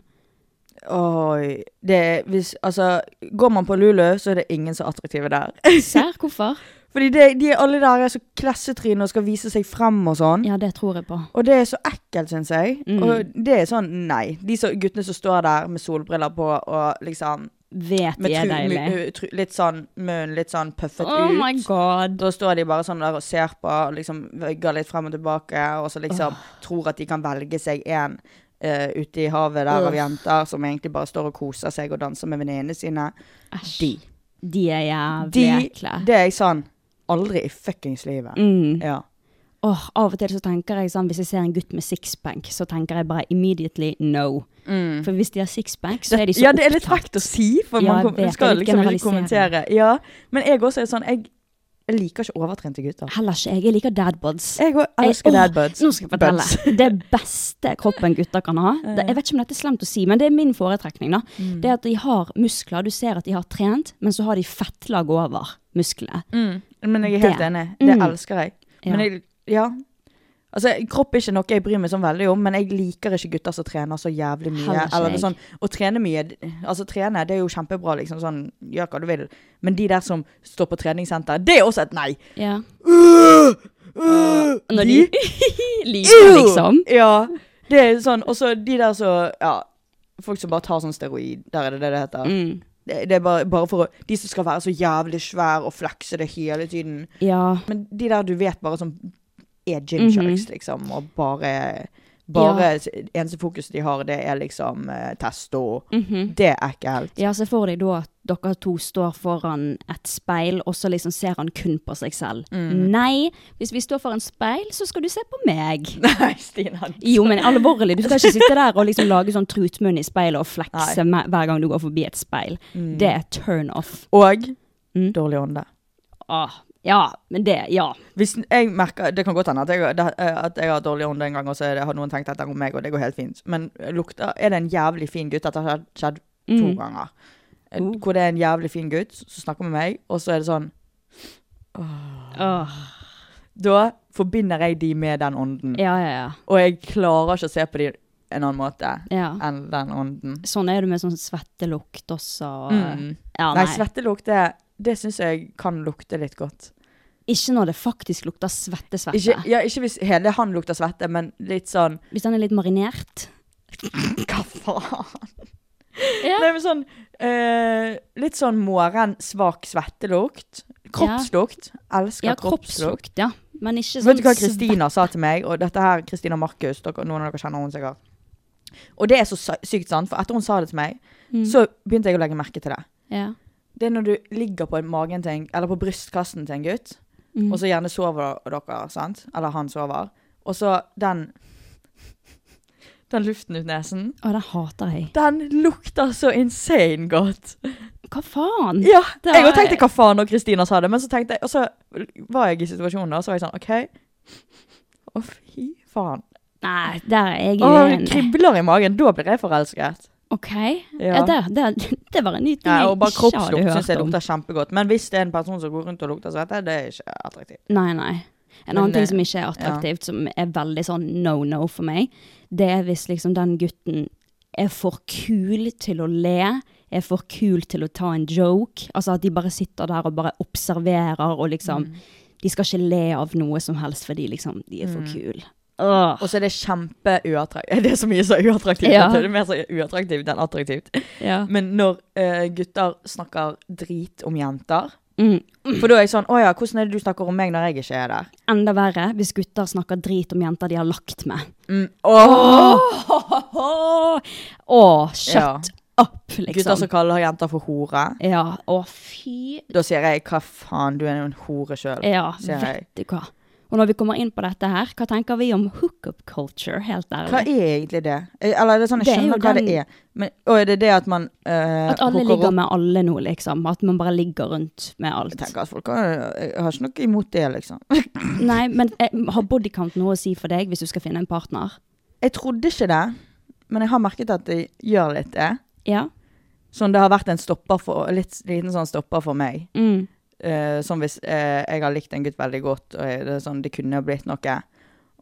S3: Oi. Det, er- hvis, altså, går man på Lulu, så er det ingen så attraktive der.
S2: Ser hvorfor?
S3: Fordi det, de alle der er så klassetryne og skal vise seg frem og sånn.
S2: Ja, det tror jeg på.
S3: Og det er så ekkelt, syns jeg.
S2: Mm.
S3: Og det er sånn, nei. De så, guttene som står der med solbriller på og liksom
S2: Vet
S3: med
S2: de er
S3: tru-
S2: deilige.
S3: med- tru- Litt sånn munn, litt sånn puffet
S2: Oh
S3: ut.
S2: my god.
S3: Da står de bare sånn der og ser på, og liksom vøgger litt frem og tilbake, og så liksom tror at de kan velge seg en eh, ute i havet der av jenter som egentlig bare står og koser seg og danser med venninnene sine.
S2: Æsj. De er jævlig
S3: De,
S2: ekle.
S3: det er jeg sånn Aldri i fuckings livet.
S2: Mm.
S3: Ja.
S2: Åh, av og til så tenker jeg sånn, hvis jeg ser en gutt med sixpack, så tenker jeg bare immediately no. For hvis de har sixpack, Mm. så er de så
S3: Mm. ja, det er litt
S2: opptatt.
S3: frekt å si, for
S2: Ja,
S3: man
S2: jeg
S3: kom,
S2: vet,
S3: skal
S2: jeg vil
S3: liksom ikke
S2: generalisere.
S3: kommentere. Ja, men jeg også er sånn Jeg, jeg liker ikke overtrente gutter.
S2: Heller ikke jeg. Jeg liker dadbods.
S3: Jeg også
S2: Jeg-
S3: elsker
S2: åh,
S3: dad buds.
S2: Nå skal jeg fortelle.
S3: Buds.
S2: Det beste kroppen gutter kan ha det, Jeg vet ikke om dette er slemt å si, men det er min foretrekning. da.
S3: Mm.
S2: Det er at de har muskler. Du ser at de har trent, men så har de fettlag over musklene.
S3: Men jeg er helt
S2: Det.
S3: enig. Det
S2: Mm.
S3: elsker jeg.
S2: Ja.
S3: Mm. Men jeg Ja. Altså, kropp er ikke noe jeg bryr meg sånn veldig om, men jeg liker ikke gutter som trener så jævlig mye.
S2: Heller ikke
S3: Eller det
S2: jeg.
S3: er sånn, å trene mye Altså, trene det er jo kjempebra, liksom. Sånn, gjør hva du vil. Men de der som står på treningssenter, det er også et nei!
S2: Ja.
S3: Øh! Øh!
S2: Når de, liker,
S3: Ew!
S2: liksom.
S3: Ja, det er sånn. Og så de der som Ja, folk som bare tar sånn steroid. Der er det det det heter.
S2: Mm.
S3: Det, det er bare, bare for å De som skal være så jævlig svær og flekse det hele tiden.
S2: Ja.
S3: Men de der du vet bare som er
S2: Mhm.
S3: gymsharks, liksom, og bare bare Eneste fokuset de har, det er liksom eh, testo.
S2: mhm.
S3: Det er ekkelt.
S2: Ja, se for deg da at dere to står foran et speil, og så liksom ser han kun på seg selv.
S3: Mm.
S2: Nei, hvis vi står foran speil, så skal du se på meg.
S3: Nei, Stina.
S2: Jo, men alvorlig, du skal ikke sitte der og liksom lage sånn trutmunn i speilet og flekse med, hver gang du går forbi et speil.
S3: Mm.
S2: Det er turn off.
S3: Og
S2: Mm.
S3: dårlig ånde.
S2: Ah, ja, men det, ja.
S3: Hvis jeg merker, Det kan godt hende at jeg, det- eh, at jeg har dårlig ånde en gang, og så er det- har noen tenkt dette om meg, og det går helt fint. Men eh, lukter, er det en jævlig fin gutt Dette har skjedd to
S2: Mm.
S3: ganger. Eh,
S2: Oh.
S3: Hvor det er en jævlig fin gutt som snakker med meg, og så er det sånn
S2: Åh,
S3: Da forbinder jeg de med den ånden.
S2: ja, ja, ja,
S3: Og jeg klarer ikke å se på de en annen måte
S2: ja.
S3: enn den ånden.
S2: Sånn er det med sånn svettelukt også. og-
S3: Mm.
S2: eh, Ja,
S3: Nei,
S2: nei.
S3: svettelukt, det, det syns jeg kan lukte litt godt.
S2: Ikke når det faktisk lukter svette-svette.
S3: Ikke, ja, ikke hvis hele han lukter svette, men litt sånn
S2: Hvis den er litt marinert.
S3: Hva faen?
S2: Ja.
S3: Nei, men sånn eh, Litt sånn morgen, svak svettelukt. Kroppslukt. Elsker
S2: Ja,
S3: kroppslukt.
S2: kroppslukt, ja. Men ikke sånn
S3: Vet du hva
S2: svett-
S3: Kristina sa til meg, og dette her Kristina Markus, dere, noen av dere kjenner hun sikkert. Og det er så sy- sykt sant, for etter hun sa det til meg,
S2: Mm.
S3: så begynte jeg å legge merke til det.
S2: Ja.
S3: Det er når du ligger på magen til en, eller på brystkassen til en gutt,
S2: Mm.
S3: og så gjerne sover dere, sant? Eller han sover. Og så den Den luften ut nesen.
S2: Å, den hater jeg.
S3: Den lukter så insane godt.
S2: Hva faen?
S3: Ja,
S2: Mm. Det
S3: jeg
S2: er-
S3: også tenkte hva faen når Kristina sa det, men så tenkte jeg, og så var jeg i situasjonen da, så var jeg sånn, ok, å fy faen.
S2: Nei, der er jeg
S3: Å, det
S2: uenig.
S3: kribler i magen, da blir jeg forelsket.
S2: Ok, ja.
S3: Ja.
S2: det, det, det var en ny ting
S3: Ja,
S2: jeg
S3: og bare
S2: ikke hadde
S3: kroppslukt synes
S2: hørt
S3: jeg
S2: om.
S3: lukter kjempegodt, men hvis det er en person som går rundt og lukter svette, det er ikke attraktivt.
S2: Nei, nei. En
S3: Men,
S2: annen
S3: eh,
S2: ting som ikke er attraktivt, som er veldig sånn no-no for meg, det er hvis liksom den gutten er for kul til å le, er for kul til å ta en joke. Altså at de bare sitter der og bare observerer og liksom
S3: Mm.
S2: De skal ikke le av noe som helst fordi liksom de er for
S3: Mm.
S2: kul. Åh,
S3: Og så er det kjempe uattraktivt. Det er så mye så uattraktivt.
S2: Ja.
S3: at Det er mer så uattraktivt enn attraktivt.
S2: ja.
S3: Men når eh, gutter snakker drit om jenter
S2: Mm.
S3: For da er jeg sånn Å ja, hvordan er det du snakker om meg når jeg ikke er der?
S2: Enda verre hvis gutter snakker drit om jenter de har lagt med.
S3: Mm. Åh!
S2: Åh, åh, shut
S3: Ja.
S2: up, liksom.
S3: Gutter som kaller altså, jenter for hore.
S2: Ja, å fy
S3: Da sier jeg hva faen, du er jo en hore sjøl.
S2: Ja,
S3: sier jeg.
S2: vet du hva. Og når vi kommer inn på dette her, hva tenker vi om hookup culture, helt
S3: Hva
S2: ærlig?
S3: er egentlig det? Eh, Eller er det sånn,
S2: Det er
S3: jeg skjønner
S2: jo
S3: hva
S2: den-
S3: det er. Men, og er det det at man eh,
S2: At alle
S3: hooker
S2: ligger
S3: opp?
S2: med alle nå, liksom. At man bare ligger rundt med alt.
S3: Jeg tenker at folk har, jeg har ikke noe imot det, liksom.
S2: Nei, men eh, har bodycount noe å si for deg hvis du skal finne en partner?
S3: Jeg trodde ikke det, men jeg har merket at det gjør litt det.
S2: Ja.
S3: Sånn det har vært en stopper for, litt liten sånn stopper for meg.
S2: Mm.
S3: Eh, som hvis eh, jeg har likt en gutt veldig godt, og jeg, det, er sånn, det kunne blitt noe.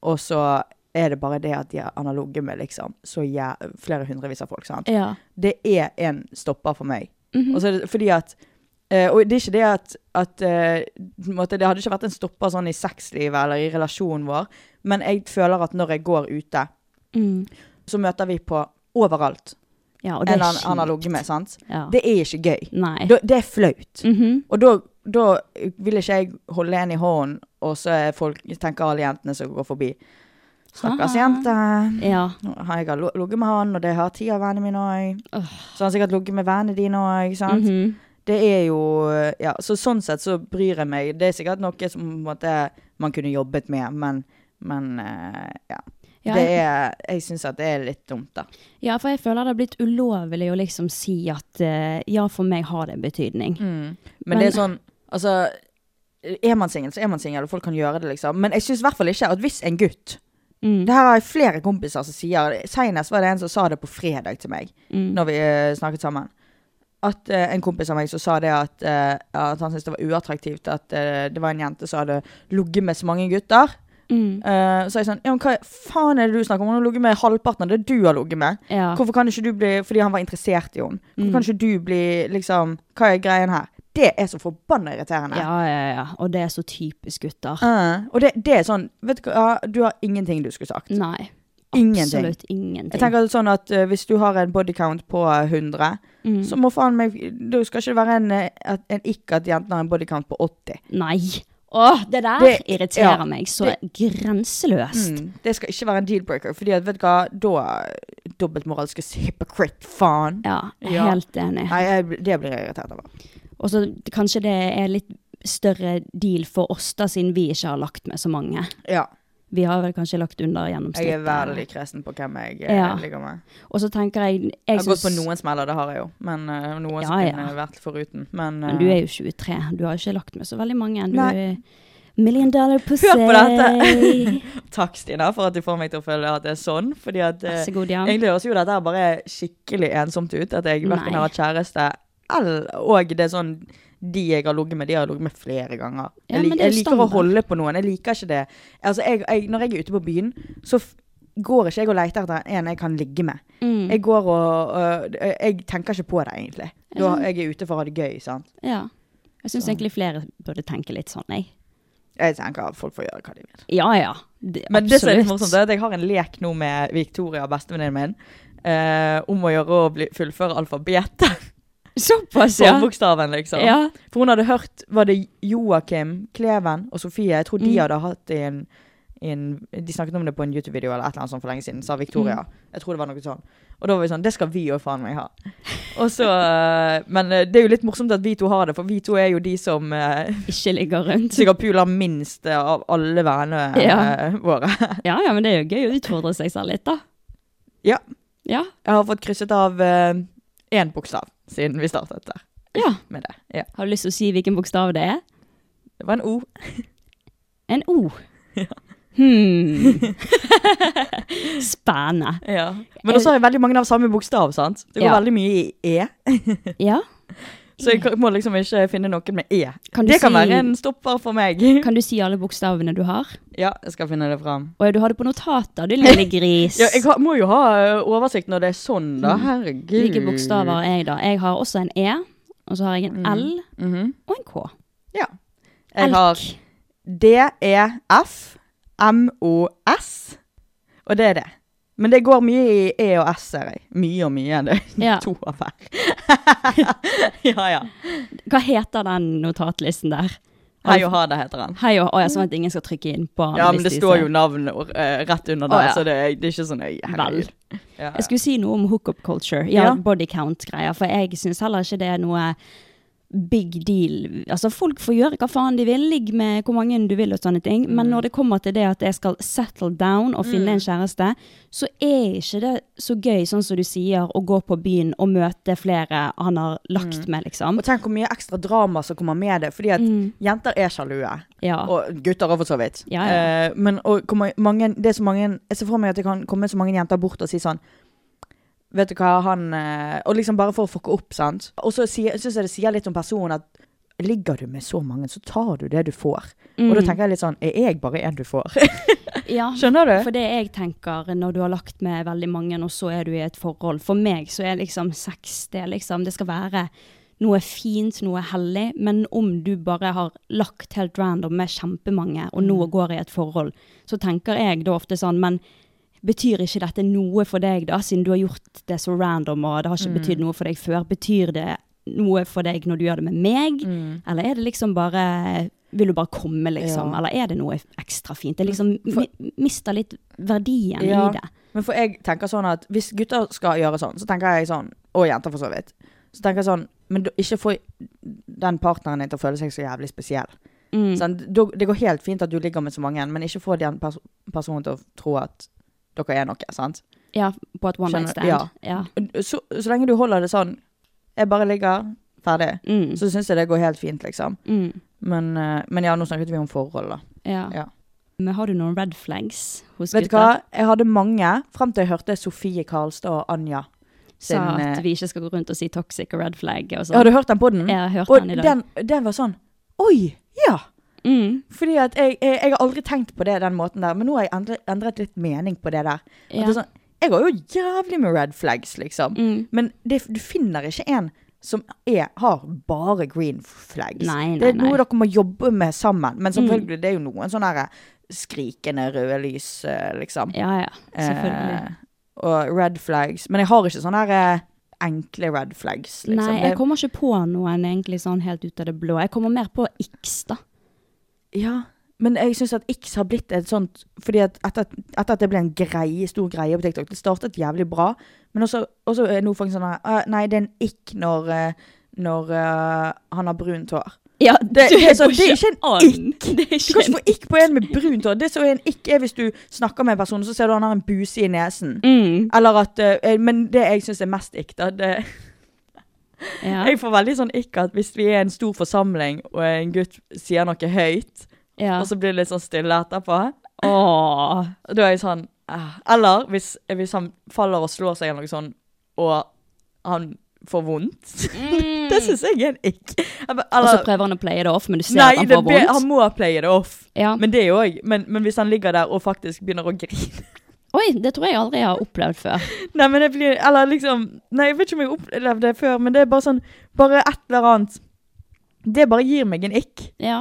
S3: Og så er det bare det at de er analoge med liksom, så jæ- flere hundrevis av folk. Sant?
S2: Ja.
S3: Det er en stopper for meg.
S2: Mhm.
S3: Og så er det fordi at eh, Og det er ikke det at, at eh, på en måte, Det hadde ikke vært en stopper sånn i sexlivet eller i relasjonen vår, men jeg føler at når jeg går ute,
S2: Mm.
S3: så møter vi på overalt
S2: ja, og det
S3: en
S2: er
S3: an-
S2: kjipt.
S3: analoge med. sant?
S2: Ja.
S3: Det er ikke gøy.
S2: Nei.
S3: Da, det er flaut.
S2: Mhm.
S3: Og da, da vil ikke jeg holde en i hånden, og så er folk, tenker alle jentene som går forbi. Stakkars
S2: Ha-ha.
S3: jente.
S2: Ja.
S3: Nå har jeg lo- ligget med han, og det har ti av vennene mine òg.
S2: Åh.
S3: Så har han sikkert ligget med vennene dine òg. sant?
S2: Mhm.
S3: Det er jo Ja, så sånn sett så bryr jeg meg. Det er sikkert noe som på en måte man kunne jobbet med, men, men eh, ja.
S2: Ja,
S3: Det
S2: jeg-
S3: er Jeg syns at det er litt dumt, da.
S2: Ja, for jeg føler det har blitt ulovlig å liksom si at eh, ja, for meg har det betydning.
S3: Men, det er sånn, altså Er man singel, så er man singel, og folk kan gjøre det, liksom. Men jeg syns i hvert fall ikke at hvis en gutt
S2: Mm.
S3: Det her har jeg flere kompiser som sier. Senest var det en som sa det på fredag til meg,
S2: Mm.
S3: når vi eh, snakket sammen. At eh, en kompis av meg som sa det at, eh, at han syntes det var uattraktivt at eh, det var en jente som hadde ligget med så mange gutter.
S2: Mm.
S3: Eh, så er jeg sånn Ja, men hva faen er det du snakker om? Hun har ligget med halvparten av det du har ligget med.
S2: Ja. Mm.
S3: Hvorfor kan ikke du bli Fordi han var interessert i henne. Hvorfor kan ikke du bli liksom Hva er greien her? Det er så forbanna irriterende.
S2: ja, ja, ja. Og det er så typisk gutter.
S3: Eh, og det, det er sånn Vet du hva, ja, du har ingenting du skulle sagt.
S2: Nei.
S3: Ingenting.
S2: Absolutt ingenting.
S3: Jeg tenker sånn at eh, Hvis du har en bodycount på eh, 100,
S2: Mm.
S3: så må faen meg Du skal ikke være en, eh, at- en ikke at jentene har en bodycount på 80.
S2: Nei. Åh, det der
S3: Det-
S2: irriterer
S3: ja.
S2: meg så grenseløst.
S3: Mm. Det skal ikke være en deal-breaker, fordi at, vet du hva, da Dobbeltmoralske hypocrite, faen.
S2: Ja,
S3: Ja.
S2: helt enig.
S3: Nei, jeg, det blir jeg irritert over.
S2: Og så det- kanskje det er litt større deal for oss da, siden vi ikke har lagt med så mange.
S3: Ja.
S2: Vi har vel kanskje lagt under gjennomsnittet.
S3: Jeg er veldig kresen på hvem jeg eh,
S2: Ja.
S3: ligger med.
S2: Og så tenker jeg, jeg,
S3: Jeg har gått på
S2: synes-
S3: noen smeller, det har jeg jo. Men eh, noen
S2: Ja,
S3: som
S2: ja.
S3: kunne vært foruten. Men,
S2: Men du
S3: eh,
S2: er jo 23, du har ikke lagt med så veldig mange. Du
S3: Nei.
S2: er million dollar pussy.
S3: Hør på dette! eh, Takk, Stina, for at du får meg til å føle at det er sånn. Fordi at eh,
S2: Vær så god, ja.
S3: Egentlig høres jo dette her bare skikkelig ensomt ut. At jeg
S2: Nei.
S3: verken har hatt kjæreste eller Og det er sånn de jeg har ligget med, de har jeg ligget med flere ganger.
S2: Ja,
S3: jeg,
S2: men
S3: lik,
S2: det er
S3: jeg
S2: jo
S3: liker
S2: standard.
S3: å holde på noen. Jeg liker ikke det. Altså, jeg, jeg, når jeg er ute på byen, så f går ikke jeg og leter etter en jeg kan ligge med.
S2: Mm,
S3: Jeg går og øh, Jeg tenker ikke på det, egentlig. Da, jeg er ute for å ha det gøy, sant.
S2: ja. Jeg syns egentlig flere burde tenke litt sånn, jeg.
S3: Jeg tenker at folk får gjøre hva de vil.
S2: Ja ja. Det,
S3: Men det som er litt
S2: absolutt.
S3: morsomt, det er at jeg har en lek nå med Victoria, bestevenninnen min, eh, om å gjøre å bli, fullføre alfabetet.
S2: Såpass, ja.
S3: Forbokstaven, liksom.
S2: ja.
S3: For hun hadde hørt Var det Joakim, Kleven og Sofie? Jeg
S2: Mm.
S3: tror de hadde hatt en, en De snakket om det på en YouTube-video eller et eller annet sånt for lenge siden, sa
S2: Mm.
S3: Victoria. Jeg tror det var noe sånn. Og da var vi sånn Det skal vi òg faen meg ha. Og så eh, Men eh, det er jo litt morsomt at vi to har det, for vi to er jo de som eh,
S2: Ikke ligger rundt.
S3: sikkert puler minst eh, av alle vennene eh, våre.
S2: Ja ja, men det er jo gøy å utfordre seg selv litt, da.
S3: Ja.
S2: Ja.
S3: Jeg har fått krysset av eh, én bokstav siden vi startet der
S2: ja.
S3: med det. Ja.
S2: Har du lyst til å si hvilken bokstav det er?
S3: Det var en O.
S2: En O. Hmm. Spennende.
S3: Men også har jeg veldig mange av samme bokstav, sant? Det går
S2: Ja.
S3: veldig mye i E.
S2: Ja.
S3: Så jeg kan- må liksom ikke finne noen med E.
S2: Kan du
S3: det kan
S2: si-
S3: være en stopper for meg.
S2: Kan du si alle bokstavene du har?
S3: Ja, jeg skal finne det fram.
S2: Å ja, du har det på notater, du lille gris.
S3: Ja, jeg har, må jo ha ø, oversikt når det er sånn, da. Herregud.
S2: Mm. Hvilke bokstaver har jeg, da? Jeg har også en E, og så har jeg en L
S3: Mhm.
S2: og en K.
S3: Ja. Jeg
S2: Elk.
S3: har E, D-E-F-M-O-S, og det er det. Men det går mye i E og S, ser jeg. Mye og mye. Det er
S2: Ja.
S3: to av hver. ja, ja.
S2: Hva heter den notatlisten der?
S3: Hei og ha det, heter han.
S2: Hei og Å ja, sånn at ingen skal trykke inn på den.
S3: Mm. Ja,
S2: hvis
S3: men
S2: de
S3: det står
S2: ser.
S3: jo navn og, eh, rett under der,
S2: Å, ja.
S3: så det, er- det er ikke så nøye.
S2: Vel.
S3: herregud. Ja.
S2: Jeg skulle si noe om hookup culture, ja,
S3: Ja.
S2: body count-greier, for jeg syns heller ikke det er noe big deal. Altså, folk får gjøre hva faen de vil, ligg med hvor mange du vil og sånne ting,
S3: Mm.
S2: men når det kommer til det at jeg skal settle down og finne en kjæreste, så er ikke det så gøy, sånn som du sier, å gå på byen og møte flere han har lagt med, liksom.
S3: Mm.
S2: Mm.
S3: Og tenk hvor mye ekstra drama som kommer med det, fordi at jenter er sjalue.
S2: Ja.
S3: Og gutter også, for så vidt.
S2: Ja, ja.
S3: Eh, men og, kommer mange, det er så mange Jeg ser for meg at det kan komme så mange jenter bort og si sånn Vet du hva, han eh," Og liksom bare for å fucke opp, sant. Og så syns jeg det sier litt om personen at Ligger du med så mange, så tar du det du får. Og da tenker jeg litt sånn Er jeg bare en du får?
S2: Mm. Ja,
S3: Skjønner du?
S2: For det jeg tenker når du har lagt med veldig mange, og så er du i et forhold For meg så er liksom sex det, er liksom, det skal være noe fint, noe hellig. Men om du bare har lagt helt random med kjempemange, og nå går i et forhold, så tenker jeg da ofte sånn Men betyr ikke dette noe for deg, da, siden du har gjort det så random, og det har
S3: Mm.
S2: ikke betydd noe for deg før? Betyr det noe for deg når du gjør det med meg, eller er det liksom bare vil du bare komme, liksom?
S3: Mm. Ja. Mm.
S2: Eller er det noe ekstra fint? Det er liksom mi mister litt verdien i det.
S3: Men for jeg tenker sånn at hvis gutter skal gjøre sånn, så tenker jeg sånn, og jenter for så vidt, Så tenker jeg sånn Men da- ikke få den partneren din til å føle seg så jævlig spesiell.
S2: Mm.
S3: Sant? Da- det går helt fint at du ligger med så mange, men ikke få den pers personen til å tro at dere er noe. sant?
S2: Ja, på et one night
S3: Skjønner-
S2: stand. Ja.
S3: ja. Så, så lenge du holder det sånn Jeg bare ligger, ferdig,
S2: Mm.
S3: så syns jeg det går helt fint, liksom.
S2: Mm.
S3: Men, eh, men ja, nå snakket vi om forhold, da.
S2: Ja.
S3: Ja.
S2: Men har du noen red flags hos
S3: Vet du
S2: gutter?
S3: hva? Jeg hadde mange fram til jeg hørte Sofie Karlstad og Anja.
S2: Sa
S3: Sin, eh,
S2: at vi ikke skal gå rundt og si toxic og red flag og sånn.
S3: Har du hørt den på den?
S2: Jeg har hørt
S3: Og
S2: den i dag.
S3: den, den var sånn Oi! Ja!
S2: Mm.
S3: Fordi at jeg, jeg, jeg har aldri tenkt på det den måten der, men nå har jeg endret, endret litt mening på det der. At
S2: Ja.
S3: det er sånn, jeg har jo jævlig med red flags, liksom.
S2: Mm.
S3: Men det, du finner ikke en som er, har bare green flags.
S2: Nei, nei,
S3: det er
S2: nei. Mm.
S3: noe dere må jobbe med sammen. Men selvfølgelig, det er jo noen sånne her eh, skrikende røde lys, eh, liksom.
S2: Ja, ja. Selvfølgelig.
S3: Eh, og red flags. Men jeg har ikke sånne her eh, enkle red flags, liksom.
S2: Nei, jeg
S3: Det-
S2: kommer ikke på noen egentlig sånn helt ut av det blå. Jeg kommer mer på X, da.
S3: Ja, men jeg syns at X har blitt et sånt Fordi at etter, at- etter at det ble en greie, stor greie på TikTok Det startet jævlig bra, men også, også er nå faktisk sånn her «Ah, Nei, det er en ikk når, eh, når eh, han har brunt hår.
S2: Ja,
S3: Det, det, er så, det er ikke en ikk!
S2: Det er
S3: Du kan
S2: ikke
S3: ikke
S2: en
S3: få ikk på en med brunt hår. Det som er en ikk, er hvis du snakker med en person, så ser du han har en buse i nesen.
S2: mm.
S3: Eller at eh, Men det jeg syns er mest ikk, da det,
S2: ja.
S3: Jeg får veldig sånn ikk at hvis vi er en stor forsamling, og en gutt sier noe høyt,
S2: ja.
S3: og så blir det litt sånn stille etterpå
S2: Åh.
S3: Og Da er jeg sånn ah. Eller hvis, hvis han faller og slår seg eller noe sånn, og han får vondt. det syns jeg er en ikk. Jeg bare,
S2: Mm. Og så
S3: Eller
S2: prøver han å playe det off, men du ser
S3: Nei,
S2: at han
S3: det,
S2: får
S3: be- han
S2: vondt.
S3: må playe det off.
S2: Ja.
S3: Men det er jo også- men, men hvis han ligger der og faktisk begynner å grine
S2: Oi, det tror jeg aldri jeg har opplevd før.
S3: Nei, men det blir Eller liksom Nei, jeg vet ikke om jeg opplevde det før, men det er bare sånn Bare et eller annet Det bare gir meg en ikk.
S2: Ja.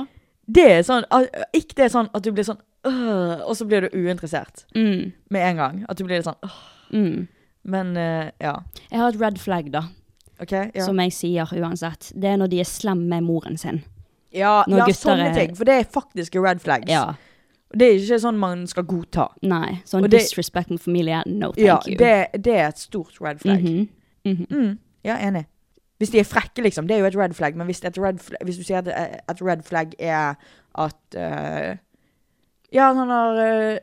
S3: Det er sånn ah, Ikk, det er sånn at du blir sånn øh, Og så blir du uinteressert
S2: Mm.
S3: med en gang. At du blir litt sånn øh.
S2: Mm.
S3: Men eh, ja.
S2: Jeg har et red flag, da,
S3: OK? Ja.
S2: som jeg sier uansett. Det er når de er slemme med moren sin.
S3: Ja,
S2: Når
S3: ja
S2: gutter
S3: sånne
S2: er-
S3: ting. For det er faktisk red flags.
S2: Ja.
S3: Det er ikke sånn man skal godta.
S2: Nei. Sånn
S3: Og det-
S2: disrespect mot familie, no thank
S3: Ja,
S2: you.
S3: det, det er et stort red flag.
S2: Mhm. Mhm.
S3: mm, ja, enig. Hvis de er frekke, liksom. Det er jo et red flag. Men hvis, et red flag, hvis du sier at eh, et red flag er at eh, Ja, han har uh,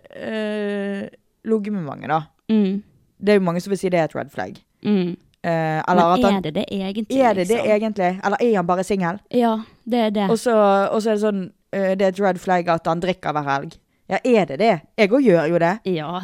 S3: ligget med mange, da.
S2: Mm.
S3: Det er jo mange som vil si det er et red flag.
S2: Mm.
S3: Eh,
S2: Men
S3: eller at
S2: er
S3: han
S2: det det egentlig?
S3: Er det det
S2: liksom?
S3: egentlig? Eller er han bare singel?
S2: Ja, det er det.
S3: Og så og så er det sånn eh, Det er et red flag at han drikker hver helg. Ja, er det det? Jeg òg gjør jo det.
S2: Ja.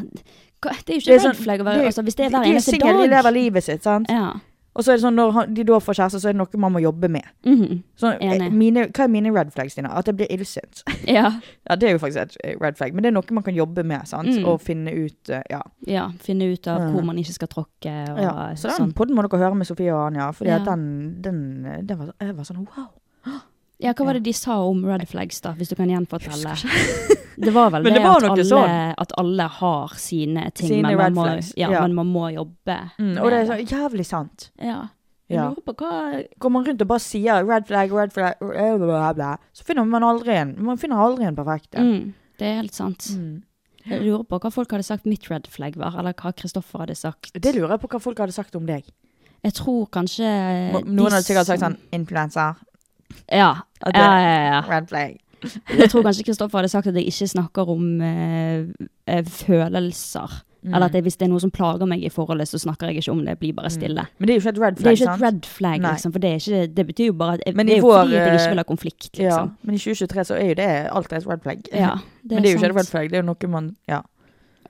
S2: Hva- Det er jo
S3: Det
S2: ikke
S3: er
S2: red
S3: sånn-
S2: flag å være
S3: det er-
S2: altså, Hvis det er
S3: De-
S2: hver
S3: de
S2: eneste
S3: single,
S2: dag.
S3: De lever livet sitt, sant.
S2: Ja.
S3: Og så er det sånn, når han- de da får kjæreste, så er det noe man må jobbe med.
S2: Mhm.
S3: Så, eh,
S2: Enig.
S3: mine, hva er mine red flags, Tina? At jeg blir illsint.
S2: ja.
S3: ja, det er jo faktisk et eh, red flag, men det er noe man kan jobbe med, sant.
S2: Mm.
S3: Og finne ut, eh, ja.
S2: ja. Finne ut av hvor
S3: Mhm.
S2: man ikke skal tråkke og
S3: ja. Så den
S2: sånn.
S3: podden må dere høre med Sofie og Anja, fordi at
S2: Ja.
S3: den, den, eh, den var, så- jeg var sånn wow.
S2: Ja, hva var det de sa om red flags, da? Hvis du kan gjenfortelle. Det var vel
S3: Men
S2: det,
S3: det var
S2: at,
S3: noe
S2: alle,
S3: sånn.
S2: at alle har sine ting,
S3: Sine
S2: men, man
S3: red
S2: må,
S3: flags,
S2: ja,
S3: ja.
S2: men man må jobbe.
S3: Mm, og det er så jævlig sant.
S2: ja. Jeg
S3: Ja.
S2: lurer på hva
S3: Går man rundt og bare sier red flag, red flag, bla, bla, bla, så finner man aldri en, man finner aldri en perfekt en.
S2: mm, Det er helt sant.
S3: Mm.
S2: Jeg lurer på hva folk hadde sagt mitt red flag var, eller hva Kristoffer hadde sagt.
S3: Det lurer jeg på hva folk hadde sagt om deg.
S2: Jeg tror kanskje
S3: Mo-
S2: Eh, de
S3: Noen hadde sikkert sagt
S2: som-
S3: sånn influenser,
S2: Ja.
S3: At det-
S2: ja, ja, ja.
S3: red flag.
S2: Jeg tror kanskje Kristoffer hadde sagt at jeg ikke snakker om eh, eh, følelser.
S3: Mm.
S2: Eller at jeg, hvis det er noe som plager meg i forholdet, så snakker jeg ikke om det. Jeg blir bare stille.
S3: Men det er jo ikke et red
S2: Det er ikke
S3: Mm. flag, sant?
S2: et red flag,
S3: Nei.
S2: liksom, for det, er ikke, det betyr jo bare at jeg,
S3: Men i
S2: Det er jo
S3: vår,
S2: fordi at jeg ikke
S3: eh,
S2: vil ha konflikt,
S3: ja.
S2: liksom.
S3: Men i 2023 så er jo det alltid et red flag.
S2: Ja, det er,
S3: Men det er jo ikke et
S2: sant.
S3: red flag, det er jo noe man Ja.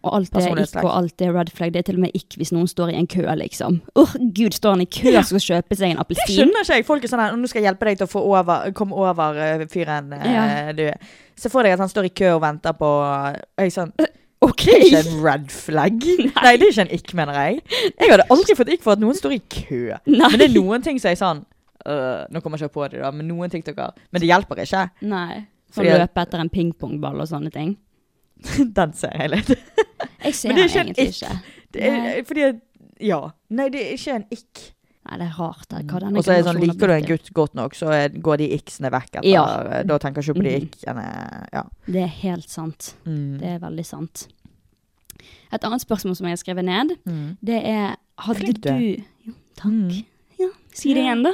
S2: Og alt er
S3: personlighetsslag.
S2: ikke, og alt er red flag. Det er til og med ikke hvis noen står i en kø, liksom. Åh, gud, står han i kø og skal kjøpe seg en
S3: Det
S2: appelsin?
S3: skjønner ikke jeg. Folk er sånn her Nå skal jeg hjelpe deg til å få over, komme over eh, fyren eh, du er. Se for deg at han står i kø og venter på Og jeg sånn
S2: OK!
S3: Det er ikke en red flag. Nei, det er ikke en ikk, mener jeg. Jeg hadde aldri fått ikk for at noen står i kø.
S2: Nei.
S3: Men det er noen ting som jeg sånn øh, Nå kommer jeg ikke på det, da, men noen ting dere Men det hjelper ikke.
S2: Nei. For
S3: Fordi
S2: å
S3: at-
S2: løpe etter en pingpongball og sånne ting.
S3: Den ser jeg litt.
S2: Jeg ser
S3: Men det er
S2: det
S3: ikke en
S2: egentlig
S3: ikk.
S2: ikke.
S3: Det er,
S2: Nei.
S3: fordi at- Ja. Nei, det er ikke en ikk.
S2: Nei, det er rart. det. Hva denne
S3: Og så er det sånn,
S2: generasjonen har
S3: liker du en
S2: blitt til.
S3: gutt godt nok, så er- går de iksene vekk etter. eh,
S2: Ja.
S3: Da tenker jeg ikke på de
S2: Mhm.
S3: ikkene. Ja. Mm.
S2: Det er helt sant. Det er veldig sant. Et annet spørsmål som jeg har skrevet ned,
S3: Mm.
S2: det er Hadde
S3: Flink du
S2: du
S3: er.
S2: Jo, takk.
S3: Mm.
S2: Ja, Si det igjen, da.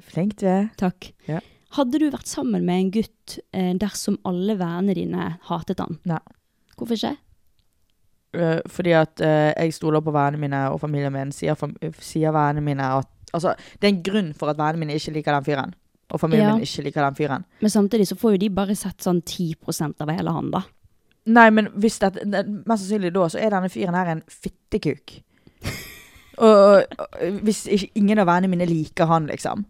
S3: Flink du er.
S2: Takk.
S3: Ja.
S2: Hadde du vært sammen med en gutt eh, dersom alle vennene dine hatet han?
S3: Nei.
S2: Hvorfor ikke?
S3: Eh, fordi at eh, jeg stoler på vennene mine og familien min. Sier, fam sier vennene mine at Altså, det er en grunn for at vennene mine ikke liker den fyren. Og familien
S2: Ja.
S3: min ikke liker den fyren.
S2: Men samtidig så får jo de bare sett sånn 10 av hele han, da.
S3: Nei, men hvis dette ne- Mest sannsynlig da, så er denne fyren her en fittekuk. og, og, og hvis ikke, ingen av vennene mine liker han, liksom.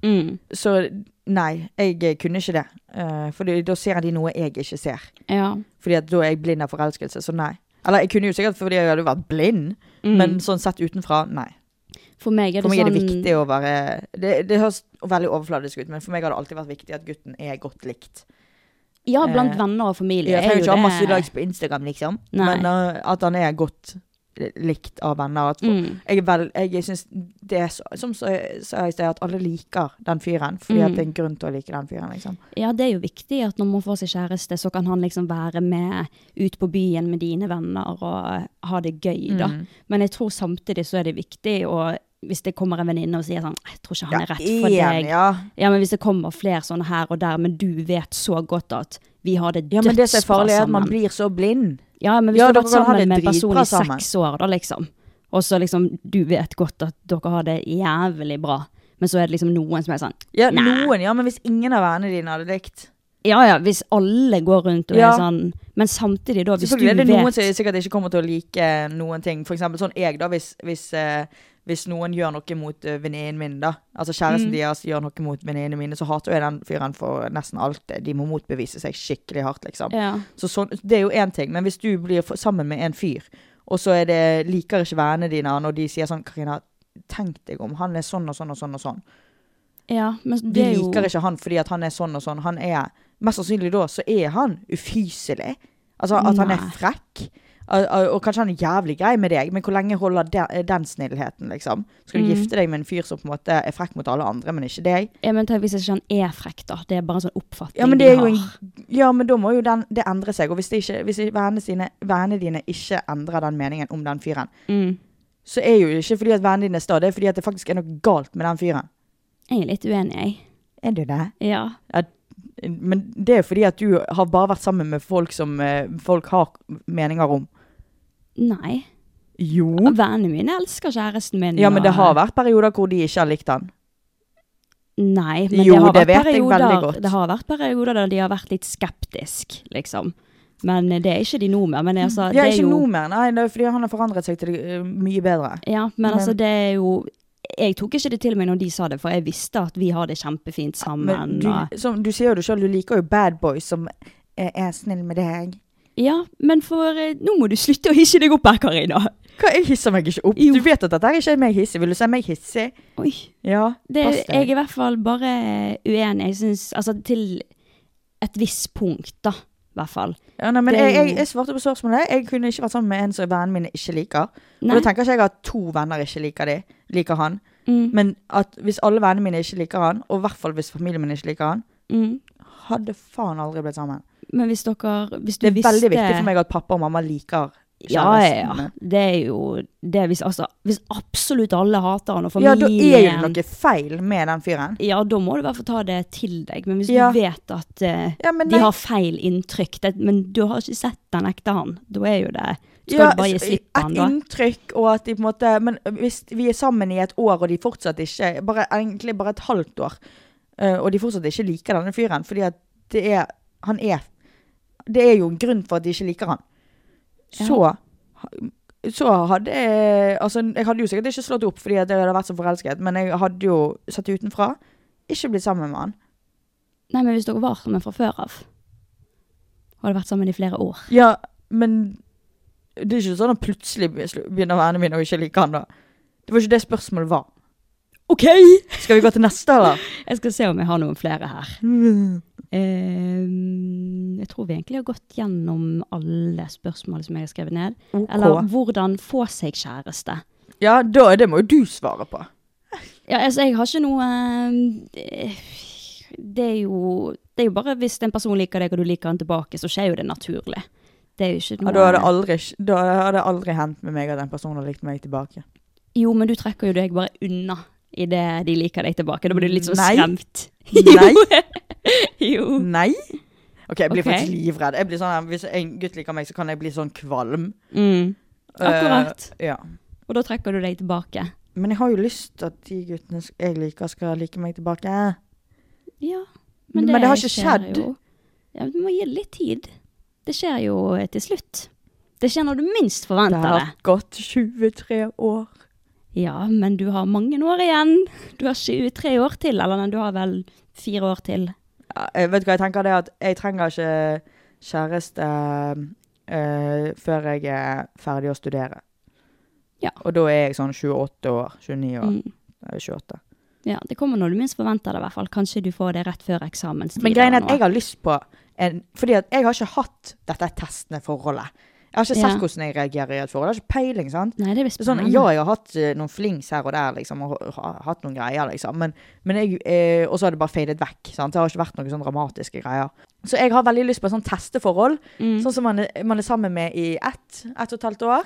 S3: Så nei, jeg kunne ikke det. Eh, for da ser de noe jeg ikke ser.
S2: Ja.
S3: Fordi at da er jeg blind av forelskelse, så nei. Eller jeg kunne jo sikkert fordi jeg hadde vært blind,
S2: Mm.
S3: men sånn sett utenfra, nei.
S2: For meg er det,
S3: For meg er det
S2: sånn
S3: viktig å være Det, det høres veldig overfladisk ut, men for meg har det alltid vært viktig at gutten er godt likt.
S2: Ja, blant
S3: Eh,
S2: venner og familie.
S3: Jeg trenger
S2: er
S3: ikke ha
S2: jo
S3: masse
S2: det-
S3: likes på Instagram, liksom,
S2: Nei.
S3: men uh, at han er godt likt av venner. At
S2: Mm.
S3: jeg, er vel- jeg syns det er så, Som så- sa jeg i sted, at alle liker den fyren, fordi
S2: Mm.
S3: at det er en grunn til å like den fyren, liksom.
S2: Ja, det er jo viktig at når man får seg kjæreste, så kan han liksom være med ut på byen med dine venner og eh, ha det gøy, da.
S3: Mm.
S2: Men jeg tror samtidig så er det viktig å hvis det kommer en venninne og sier sånn Jeg tror ikke han er rett for
S3: Ja, en,
S2: deg.
S3: Ja.
S2: Ja, men hvis det kommer flere sånne her og der, men du vet så godt at vi har det
S3: ja, men det som er
S2: dødsbra
S3: farlig, er at man
S2: sammen.
S3: blir så blind.
S2: Ja, men hvis
S3: Ja,
S2: du har
S3: dere
S2: vært
S3: kan ha
S2: sammen
S3: det
S2: med en person
S3: dritbra
S2: i
S3: sammen.
S2: seks år, da liksom, og så liksom du vet godt at dere har det jævlig bra, men så er det liksom noen som er sånn
S3: Ja,
S2: Nei.
S3: noen, ja, men hvis ingen av vennene dine hadde likt
S2: Ja ja, hvis alle går rundt og
S3: Ja.
S2: er sånn Men samtidig, da, hvis du
S3: Selvfølgelig er sånn. det noen som
S2: vet
S3: sikkert ikke kommer til å like eh, noen ting. For eksempel sånn jeg, da, hvis, hvis, eh, hvis noen gjør noe mot eh, venninnen min, da. Altså kjæresten deres gjør noe mot venninnene mine, så hater jeg den fyren for nesten alt. De må motbevise seg skikkelig hardt, liksom.
S2: ja.
S3: Så sånn, det er jo én ting, men hvis du blir for, sammen med en fyr, og så er det, liker ikke vennene dine han, og de sier sånn Karina, tenk deg om, han er sånn og sånn og sånn og sånn.
S2: ja, men
S3: Vi
S2: det er jo
S3: liker ikke han fordi at han er sånn og sånn. Han er, Mest sannsynlig da så er han ufyselig. Altså at han er
S2: Nei.
S3: frekk. Og, og, og kanskje han er jævlig grei med deg, men hvor lenge holder de, den snillheten, liksom? Skal du
S2: Mm.
S3: gifte deg med en fyr som på en måte er frekk mot alle andre, men ikke deg?
S2: ja, men tenk hvis ikke han er frekk, da. Det er bare en sånn oppfatning
S3: Ja, men,
S2: de
S3: det er jo
S2: har.
S3: en, Ah. ja, men da må jo den, det endre seg. Og hvis, det ikke, hvis vennene, sine, vennene dine ikke endrer den meningen om den fyren,
S2: Mm.
S3: så er jo det ikke fordi at vennene dine er sta, det er fordi at det faktisk er noe galt med den fyren.
S2: Jeg er litt uenig, jeg.
S3: Er det det?
S2: Ja.
S3: Men det er jo fordi at du har bare vært sammen med folk som eh, folk har meninger om.
S2: Nei.
S3: Jo.
S2: Vennene mine elsker kjæresten min.
S3: Ja, men det
S2: og-
S3: har vært perioder hvor de ikke har likt han.
S2: Nei, men
S3: Jo,
S2: det har
S3: det
S2: vært
S3: vet jeg veldig
S2: perioder
S3: godt.
S2: Det har vært perioder der de har vært litt skeptisk, liksom. Men eh, det er ikke de nå mer. Men altså,
S3: Mm. Ja,
S2: det er
S3: ikke
S2: jo
S3: nå mer. Nei, det er fordi han har forandret seg til eh, mye bedre.
S2: Ja, men altså,
S3: Men-
S2: det er jo Jeg tok ikke det til meg når de sa det, for jeg visste at vi har det kjempefint sammen.
S3: Ah, Men du,
S2: og-
S3: som, du sier jo det sjøl, du liker jo bad boys som eh, er snill med deg.
S2: Ja, men for eh, Nå må du slutte å hisse deg opp her, Karina.
S3: Hva, jeg hisser meg ikke opp.
S2: Jo.
S3: Du vet at dette her ikke er meg hissig. Vil du se meg hissig?
S2: Oi.
S3: Ja,
S2: Det,
S3: pass
S2: jeg er
S3: deg.
S2: i hvert fall bare uenig. Jeg syns Altså, til et visst punkt, da. I hvert fall.
S3: Ja, nei, men
S2: det er
S3: jeg, jeg,
S2: jo-
S3: jeg svarte på spørsmålet. Jeg kunne ikke vært sammen med en som vennene mine ikke liker. Og
S2: Nei.
S3: da tenker ikke jeg at to venner ikke liker de, liker han.
S2: Mm,
S3: Men at hvis alle vennene mine ikke liker han, og i hvert fall hvis familien min ikke liker han,
S2: mm.
S3: hadde faen aldri blitt sammen.
S2: Men hvis dere Hvis du
S3: Det er
S2: visste
S3: veldig viktig for meg at pappa og mamma liker
S2: Ja,
S3: kjæresten
S2: ja.
S3: min.
S2: Det er jo det hvis, altså, hvis absolutt alle hater han og
S3: Ja, da
S2: familien
S3: er det noe feil med den fyren.
S2: Ja, da må du i hvert fall ta det til deg. Men hvis
S3: Ja.
S2: du vet at eh,
S3: Ja, men
S2: de
S3: nei,
S2: har feil inntrykk, det, men du har ikke sett den ekte han, da er jo det Skal
S3: ja,
S2: du bare gi slipp på han,
S3: Et
S2: da?
S3: inntrykk og at de på en måte Men hvis vi er sammen i et år, og de fortsatt ikke bare, Egentlig bare et halvt år, eh, og de fortsatt ikke liker denne fyren fordi at det er Han er Det er jo en grunn for at de ikke liker han.
S2: Ja.
S3: Så så hadde jeg Altså, jeg hadde jo sikkert ikke slått opp fordi at jeg hadde vært så forelsket, men jeg hadde jo sett utenfra. Ikke blitt sammen med han.
S2: Nei, men hvis dere var sammen fra før av Har det vært sammen i flere år?
S3: Ja, men det er ikke sånn at plutselig begynner vennene mine å ikke like han, da. Det var ikke det spørsmålet var.
S2: OK!
S3: Skal vi gå til neste, eller?
S2: Jeg skal se om jeg har noen flere her. Eh, jeg tror vi egentlig har gått gjennom alle spørsmål som jeg har skrevet ned.
S3: Ok.
S2: Eller hvordan få seg kjæreste.
S3: Ja, da, det må jo du svare på.
S2: Ja, altså, jeg har ikke noe eh, Det er jo Det er jo bare hvis en person liker deg, og du liker han tilbake, så skjer jo det naturlig. Det er jo ikke
S3: Ja,
S2: noe
S3: da hadde det aldri, da hadde det aldri hendt med meg at en person hadde likt meg tilbake.
S2: Jo, men du trekker jo deg bare unna idet de liker deg tilbake. Da blir du litt sånn
S3: Nei.
S2: skremt.
S3: Nei.
S2: jo.
S3: Nei. Ok, jeg blir
S2: Ok.
S3: faktisk livredd. Jeg blir sånn, her, hvis en gutt liker meg, så kan jeg bli sånn kvalm.
S2: Mm. Akkurat.
S3: Eh, ja.
S2: Og da trekker du deg tilbake.
S3: Men jeg har jo lyst til at de guttene sk- jeg liker, skal like meg tilbake.
S2: Ja.
S3: Men det har ikke skjedd.
S2: skjer jo- Ja, men du må gi det litt tid. Det skjer jo eh, til slutt. Det skjer når du minst
S3: Det
S2: forventer
S3: har
S2: det.
S3: gått 23 år.
S2: Ja, men du har mange år igjen. Du har 23 år til, eller nei, du har vel fire år til.
S3: Ja, jeg vet du hva jeg tenker? Det er at jeg trenger ikke eh, kjæreste eh, før jeg er ferdig å studere.
S2: Ja.
S3: Og da er jeg sånn 28 år. 29 år. eh,
S2: Mm.
S3: Jeg er 28.
S2: Ja, det kommer når du minst forventer det, i hvert fall. Kanskje du får det rett før eksamenstid.
S3: Men greien er
S2: eller
S3: at jeg
S2: noe.
S3: har lyst på en Fordi at jeg har ikke hatt dette testende forholdet. Jeg har ikke sett
S2: Ja.
S3: hvordan jeg reagerer i et forhold. Jeg har ikke peiling, sant?
S2: Nei, det blir
S3: Det er sånn,
S2: spennende.
S3: ja, jeg har hatt eh, noen flings her og der, liksom, og ha- ha- hatt noen greier, liksom, men, men jeg, eh, og så har det bare fadet vekk, sant? Det har ikke vært noen sånn dramatiske greier. Så jeg har veldig lyst på en sånn testeforhold,
S2: Mm.
S3: sånn som man er, man er sammen med i ett, ett og et halvt år.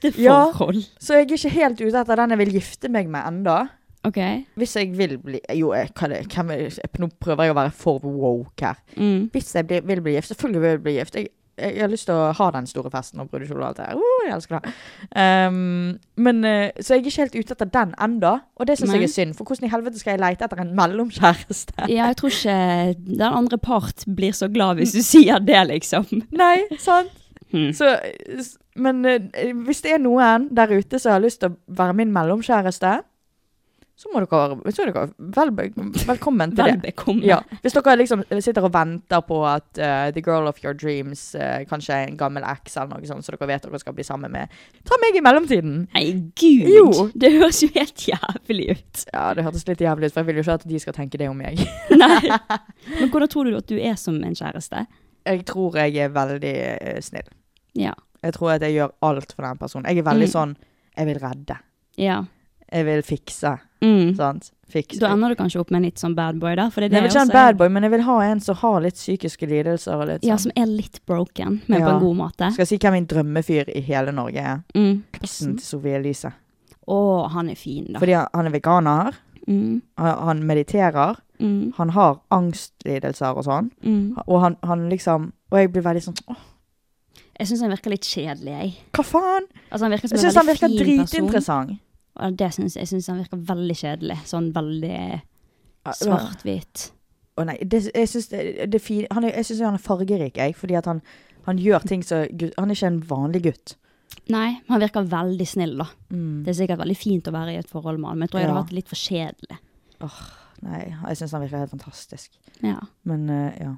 S2: Testeforhold.
S3: Så jeg er ikke helt ute etter den jeg vil gifte meg med enda.
S2: Ok.
S3: Hvis jeg vil bli, jo, eh, jeg, kan, jeg, kan, jeg, nå prøver jeg å være for woke her.
S2: Mm.
S3: Hvis jeg blir, vil bli gift, selvfølgelig vil jeg bli gift. Jeg, jeg, har lyst til å ha den store festen og brudekjole og alt det der. Uh, jeg elsker det. Ehm, men, eh, så jeg er ikke helt ute etter den enda, og det synes
S2: Nei.
S3: jeg er synd. For hvordan i helvete skal jeg lete etter en mellomkjæreste?
S2: Ja, jeg tror ikke den andre part blir så glad hvis du sier det, liksom.
S3: Nei, sant?
S2: Hmm.
S3: Så, s- men eh, hvis det er noen der ute som har lyst til å være min mellomkjæreste, så må dere, så er dere vel, velkommen til det.
S2: Vel bekomme.
S3: Ja, Hvis dere liksom sitter og venter på at eh, the girl of your dreams, eh, kanskje en gammel ex eller noe sånt, så dere vet dere skal bli sammen med, ta meg i mellomtiden.
S2: Nei, gud!
S3: Jo.
S2: Det høres jo helt jævlig ut.
S3: Ja, det hørtes litt jævlig ut, for jeg vil jo ikke at de skal tenke det om meg.
S2: Nei. Men hvordan tror du at du er som en kjæreste?
S3: Jeg tror jeg er veldig eh, snill.
S2: Ja.
S3: Jeg tror at jeg gjør alt for den personen. Jeg er veldig
S2: Mm.
S3: sånn Jeg vil redde.
S2: ja.
S3: Jeg vil fikse.
S2: Mm.
S3: Sant? Fikse.
S2: Da ender du kanskje opp med en litt sånn bad boy, da. For det er
S3: Nei,
S2: det
S3: jeg vil eh, ikke ha en
S2: også er-
S3: bad boy, men jeg vil ha en som har litt psykiske lidelser. Og litt
S2: Ja,
S3: sånn.
S2: som er litt broken, men på
S3: Ja.
S2: en god måte.
S3: Skal jeg si hvem min drømmefyr i hele Norge er?
S2: Mm.
S3: Eksen til Sofie Elise.
S2: Å, han er fin, da.
S3: Fordi han- han er veganer.
S2: Mm.
S3: han han mediterer,
S2: Mm.
S3: han har angstlidelser og sånn,
S2: Mm.
S3: og han, han liksom Og jeg blir veldig sånn Åh,
S2: Jeg syns han virker litt kjedelig, jeg.
S3: hva faen?
S2: Altså, han virker som
S3: Jeg
S2: en
S3: syns han
S2: veldig
S3: virker
S2: fin person.
S3: dritinteressant.
S2: Og det synes, jeg syns han virker veldig kjedelig. Sånn veldig svart-hvit.
S3: Å nei, det, jeg syns det, det er fin- han er- jeg synes han er fargerik, jeg, fordi at han, han gjør ting så gu- Han er ikke en vanlig gutt.
S2: Nei, men han virker veldig snill, da.
S3: Mm.
S2: Det er sikkert veldig fint å være i et forhold med han, men jeg tror jeg hadde
S3: Ja.
S2: hatt det litt for kjedelig.
S3: Nei, jeg syns han virker helt fantastisk.
S2: Ja
S3: Men eh, ja.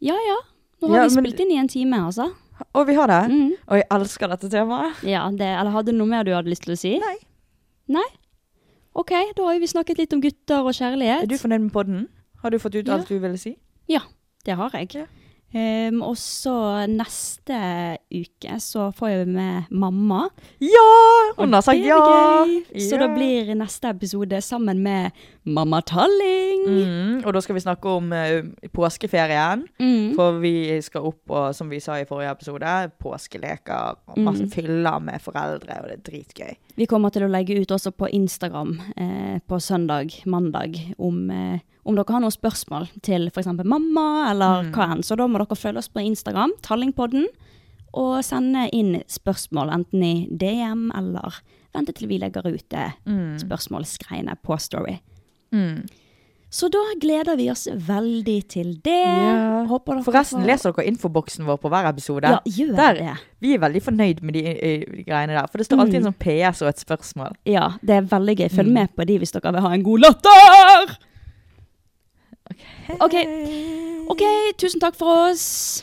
S2: ja. ja. Nå har
S3: Ja,
S2: vi
S3: men-
S2: spilt inn i en time, altså.
S3: Og vi har det.
S2: Mm.
S3: Og jeg elsker dette temaet.
S2: Ja, det, eller hadde du noe mer du hadde lyst til å si?
S3: Nei.
S2: Nei? OK, da har vi snakket litt om gutter og kjærlighet.
S3: Er du fornøyd med podden? Har du fått ut
S2: Ja.
S3: alt du ville si?
S2: Ja, det har jeg.
S3: Ja.
S2: Ehm, og så neste uke så får jeg med mamma.
S3: Ja!
S2: Og
S3: Hun har sagt
S2: det er
S3: ja!
S2: gøy. Så da
S3: Ja.
S2: blir neste episode sammen med Mamma Talling.
S3: Mm, og da skal vi snakke om eh, påskeferien.
S2: Mm.
S3: For vi skal opp og, som vi sa i forrige episode, påskeleker og masse
S2: Mm.
S3: fyller med foreldre, og det er dritgøy.
S2: Vi kommer til å legge ut også på Instagram eh, på søndag, mandag, om, eh, om dere har noen spørsmål til f.eks. mamma eller
S3: Mm.
S2: hva enn. Så da må dere følge oss på Instagram, Tallingpodden, og sende inn spørsmål enten i DM eller vente til vi legger ut det
S3: Mm.
S2: spørsmålsgreiene på Story. Så da gleder vi oss veldig til det.
S3: Ja.
S2: Håper dere
S3: Forresten,
S2: får-
S3: leser dere infoboksen vår på hver episode?
S2: Ja, gjør
S3: Der-
S2: det.
S3: Vi er veldig fornøyd med de eh, greiene der, for det står
S2: Mm.
S3: alltid en sånn PS og et spørsmål.
S2: Ja, det er veldig gøy.
S3: Mm.
S2: Følg med på de hvis dere vil ha en god latter! OK. OK, tusen takk for oss.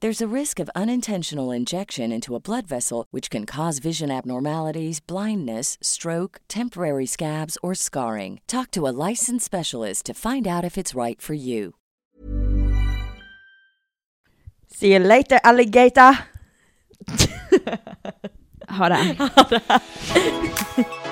S5: There's a risk of unintentional injection into a blood vessel, which can cause vision abnormalities, blindness, stroke, temporary scabs, or scarring. Talk to a licensed specialist to find out if it's right for you.
S3: See you later, alligator.
S2: Ha det.